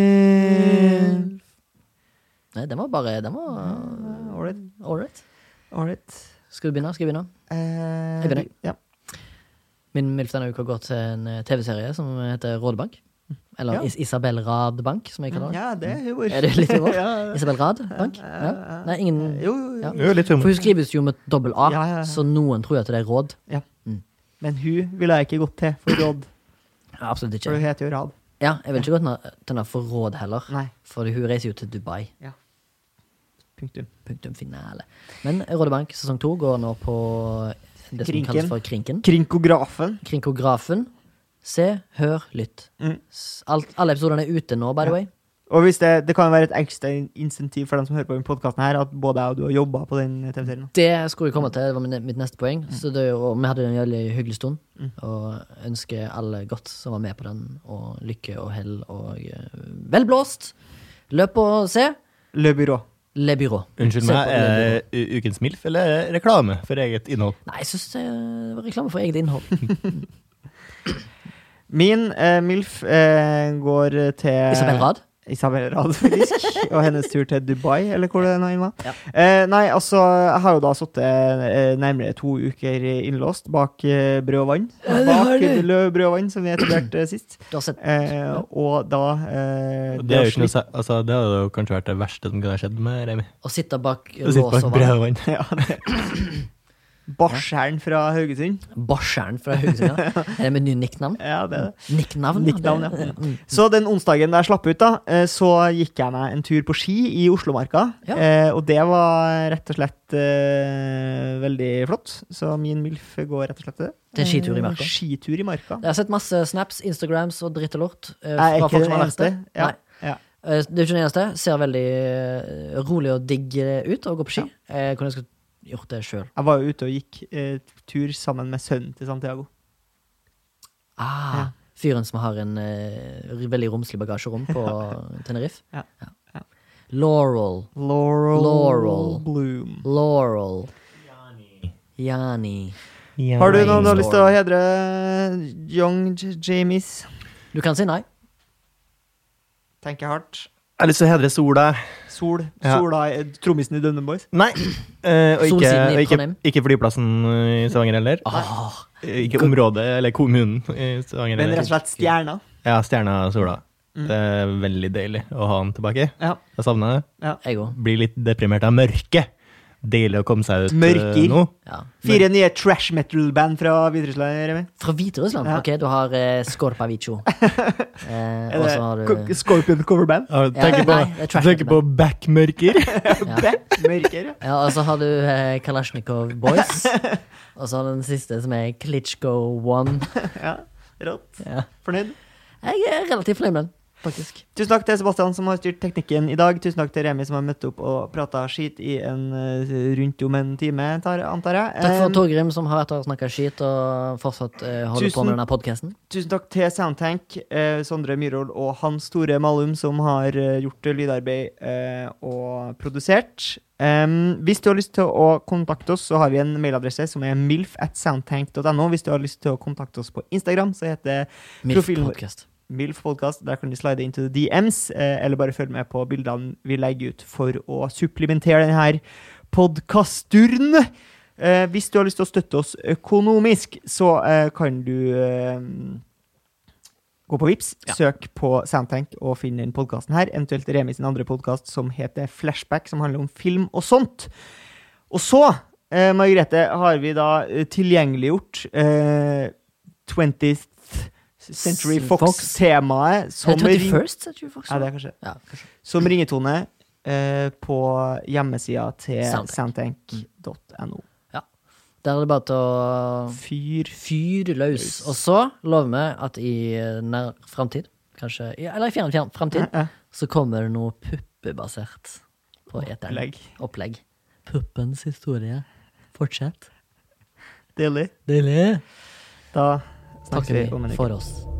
Speaker 2: MILF. Nei, den var bare Den var
Speaker 1: Ålreit.
Speaker 2: all right.
Speaker 1: Ålreit.
Speaker 2: Skal vi begynne? Skal vi begynne?
Speaker 1: Eh,
Speaker 2: Jeg begynner.
Speaker 1: ja.
Speaker 2: Min MILF denne uka går til en eh, TV-serie som heter Rådebank. Eller
Speaker 1: Ja.
Speaker 2: Is Isabel Rad Bank, som jeg kaller den.
Speaker 1: ja, det er humor.
Speaker 2: Er det litt humor?
Speaker 1: ja.
Speaker 2: Isabel Rad Bank? Ja. Nei, ingen
Speaker 1: Jo, jo, jo.
Speaker 2: Ja.
Speaker 3: Jo, litt
Speaker 2: For
Speaker 3: humor.
Speaker 2: hun skrives jo med dobbel A,
Speaker 1: Ja, ja, ja.
Speaker 2: så noen tror jo at det er råd.
Speaker 1: Men hun ville jeg ikke gått til for råd,
Speaker 2: Absolutt ikke.
Speaker 1: for hun heter jo Rad.
Speaker 2: Ja, jeg vil ikke gå til henne- til henne for råd heller.
Speaker 1: Nei.
Speaker 2: For hun reiser jo til Dubai.
Speaker 1: Punktum.
Speaker 2: Punktum finale. Men Rådebank sesong to går nå på det som
Speaker 1: Krinken.
Speaker 2: kalles for Krinken.
Speaker 1: Krinkografen.
Speaker 2: Krinkografen. Se, hør, lytt.
Speaker 1: Mm.
Speaker 2: S- Alt, alle episodene er ute nå, by the way.
Speaker 1: Og hvis det, det kan være et ekstra insentiv for dem som hører på denne podkasten, at både jeg og du har jobba på den TV-serien.
Speaker 2: Det skulle jeg komme til, det var min- mitt neste poeng.
Speaker 1: Mm.
Speaker 2: Så det, er jo- og vi hadde en veldig hyggelig stund. Og ønsker alle godt som var med på den. Og lykke og hell og eh, vel blåst! Løp og se.
Speaker 1: Le Bureau.
Speaker 2: Le Byrå.
Speaker 3: Unnskyld meg, er det u- ukens MILF eller er det reklame for eget innhold?
Speaker 2: Nei, jeg syns det var reklame for eget innhold.
Speaker 1: Eh. Min eh, MILF eh, går til
Speaker 2: Isabel Rad.
Speaker 1: Isabel Rad, faktisk. og hennes tur til Dubai, eller hvor det nå enn var.
Speaker 2: Ja.
Speaker 1: Eh, nei, altså, jeg har jo da sittet eh, nærmere to uker innlåst bak eh, brød og vann.
Speaker 2: Ja, det har
Speaker 1: Bak
Speaker 2: du.
Speaker 1: Lø- brød og vann, som vi etablerte eh, sist.
Speaker 2: Du har sett
Speaker 1: Eh, og da eh,
Speaker 3: Det er jo ikke noe
Speaker 1: slik-
Speaker 3: sa- altså, det hadde jo kanskje vært det verste som kunne ha skjedd med Remi.
Speaker 2: å sitte bak
Speaker 3: Å sitte
Speaker 2: lås
Speaker 3: bak
Speaker 2: og
Speaker 3: brød
Speaker 2: vann.
Speaker 3: og vann.
Speaker 1: Ja, det Barseren fra Haugesund.
Speaker 2: Barseren fra Haugesund. ja. Er det med ny nicknavn?
Speaker 1: Ja, det er det.
Speaker 2: Nicknavn?
Speaker 1: Nicknavn,
Speaker 2: det-
Speaker 1: ja.
Speaker 2: Mm.
Speaker 1: Så den onsdagen da jeg slapp ut, da, eh, så gikk jeg meg en tur på ski i Oslomarka.
Speaker 2: Ja.
Speaker 1: Eh, Og det var rett og slett eh, veldig flott. Så min MILF går rett og slett til det.
Speaker 2: Til en skitur i marka.
Speaker 1: Eh, Skitur i marka.
Speaker 2: Jeg har sett masse snaps, Instagrams og dritt og lort. eh,
Speaker 1: Jeg er
Speaker 2: fra
Speaker 1: ikke
Speaker 2: folk som
Speaker 1: den
Speaker 2: har vært
Speaker 1: eneste.
Speaker 2: der.
Speaker 1: Ja.
Speaker 2: Nei.
Speaker 1: Ja.
Speaker 2: Eh, Det er ikke den eneste. Ser veldig eh, rolig og digg eh, ut å gå på ski. Jeg kunne ønske jeg gjort det sjøl.
Speaker 1: Jeg var jo ute og gikk eh, tur sammen med sønnen til Santiago.
Speaker 2: Ah,
Speaker 1: Ja.
Speaker 2: Fyren som har en eh, veldig romslig bagasjerom på Tenerife.
Speaker 1: Ja. Ja.
Speaker 2: Laurel.
Speaker 1: Laurel,
Speaker 2: Laurel.
Speaker 1: Bloom.
Speaker 2: Laurel. Jani.
Speaker 1: Har du
Speaker 2: Rain
Speaker 1: noen du har lyst til å
Speaker 2: Storm.
Speaker 1: hedre Young J- Jamies?
Speaker 2: Du kan si nei.
Speaker 1: Tenker hardt.
Speaker 3: Jeg har lyst til å hedre sola.
Speaker 1: Sol.
Speaker 3: Ja.
Speaker 1: Sola er trommisen i Dønne Boys.
Speaker 3: Nei. eh, og ikke,
Speaker 2: Solsiden i
Speaker 3: og ikke,
Speaker 2: Trondheim. Ah.
Speaker 3: ikke flyplassen i Stavanger heller. Eh,
Speaker 2: Åh,
Speaker 3: Ikke området eller kommunen i Stavanger
Speaker 1: Men rett og
Speaker 3: heller.
Speaker 1: slett Mm. stjerna.
Speaker 3: Ja, stjerna sola. Det er veldig deilig å ha den tilbake.
Speaker 1: Ja.
Speaker 3: Jeg savna det.
Speaker 2: jeg òg.
Speaker 3: Blir litt deprimert av mørket. Deilig å komme seg ut eh,
Speaker 1: Mørker.
Speaker 3: nå.
Speaker 2: Ja.
Speaker 1: Fire nye trash metal-band fra Hviterussland. Remi.
Speaker 2: Fra Hviterussland?
Speaker 1: Ja.
Speaker 2: Ok, du har eh, Skorpavicho. Eh, og
Speaker 1: Eller
Speaker 2: så har du
Speaker 1: Ko- Scorpion coverband.
Speaker 3: Ja,
Speaker 2: Ja,
Speaker 3: Tenker på,
Speaker 2: nei, det er trash
Speaker 3: tenker på backmørker.
Speaker 2: ja.
Speaker 1: Mørker, ja.
Speaker 2: ja, Og så har du eh, Kalashnikov Boys. Og så har du den siste, som er Klitschko One.
Speaker 1: ja. Rått.
Speaker 2: Ja.
Speaker 1: Fornøyd?
Speaker 2: Jeg er relativt fornøyd med den, faktisk.
Speaker 1: Tusen takk til Sebastian som har styrt teknikken i dag. Tusen takk til Remi som har møtt opp og prata skit i en eh, rundt om en time, tar, antar jeg.
Speaker 2: Takk
Speaker 1: Eh,
Speaker 2: for Torgrim, som har vært her og snakka skit og fortsatt eh, holder på
Speaker 1: Tusen-
Speaker 2: med denne podkasten.
Speaker 1: Tusen takk til Soundtank, eh, Sondre Myhrvold og Hans Tore Malum, som har eh, gjort lydarbeid eh, og produsert. Em, hvis du har lyst til å kontakte oss, så har vi en mailadresse som er milf at soundtank.no. Hvis du har lyst til å kontakte oss på Instagram, så heter
Speaker 2: Milf
Speaker 1: Profilen-
Speaker 2: podcast.
Speaker 1: Milf Podcast. Der kan du slide into the DMs, eh, eller bare følg med på bildene vi legger ut for å supplementere denne podkasturen. Eh, hvis du har lyst til å støtte oss økonomisk, så eh, kan du eh, gå på Vips, søk på Soundtank og finn den podkasten her. Eventuelt Remi sin andre podkast som heter Flashback, som handler om film og sånt. Og så, eh, Margrethe, har vi da eh, tilgjengeliggjort eh, 20th Century
Speaker 2: S- Fox.
Speaker 1: Fox-temaet
Speaker 2: Er
Speaker 1: som,
Speaker 2: det
Speaker 1: ring
Speaker 2: 21st? Er det ikke
Speaker 1: ja, det er
Speaker 2: faktisk?
Speaker 1: kanskje.
Speaker 2: Ja, kanskje.
Speaker 1: som ringetone eh, på hjemmesida til
Speaker 2: Soundtank.
Speaker 1: soundtank.no.
Speaker 2: Der er det bare til å
Speaker 1: Fyr
Speaker 2: fyr løs. Og så lover vi at i eh, nær framtid, kanskje ja, Eller i fjern, fjern framtid,
Speaker 1: Ja, ja.
Speaker 2: så kommer det noe puppebasert på eteren.
Speaker 1: Opplegg.
Speaker 2: Opplegg. Puppens historie. Fortsett.
Speaker 1: Deilig.
Speaker 2: Deilig.
Speaker 1: Da
Speaker 2: Takker
Speaker 1: snakkes vi om en
Speaker 2: vi
Speaker 1: uke.
Speaker 2: for oss.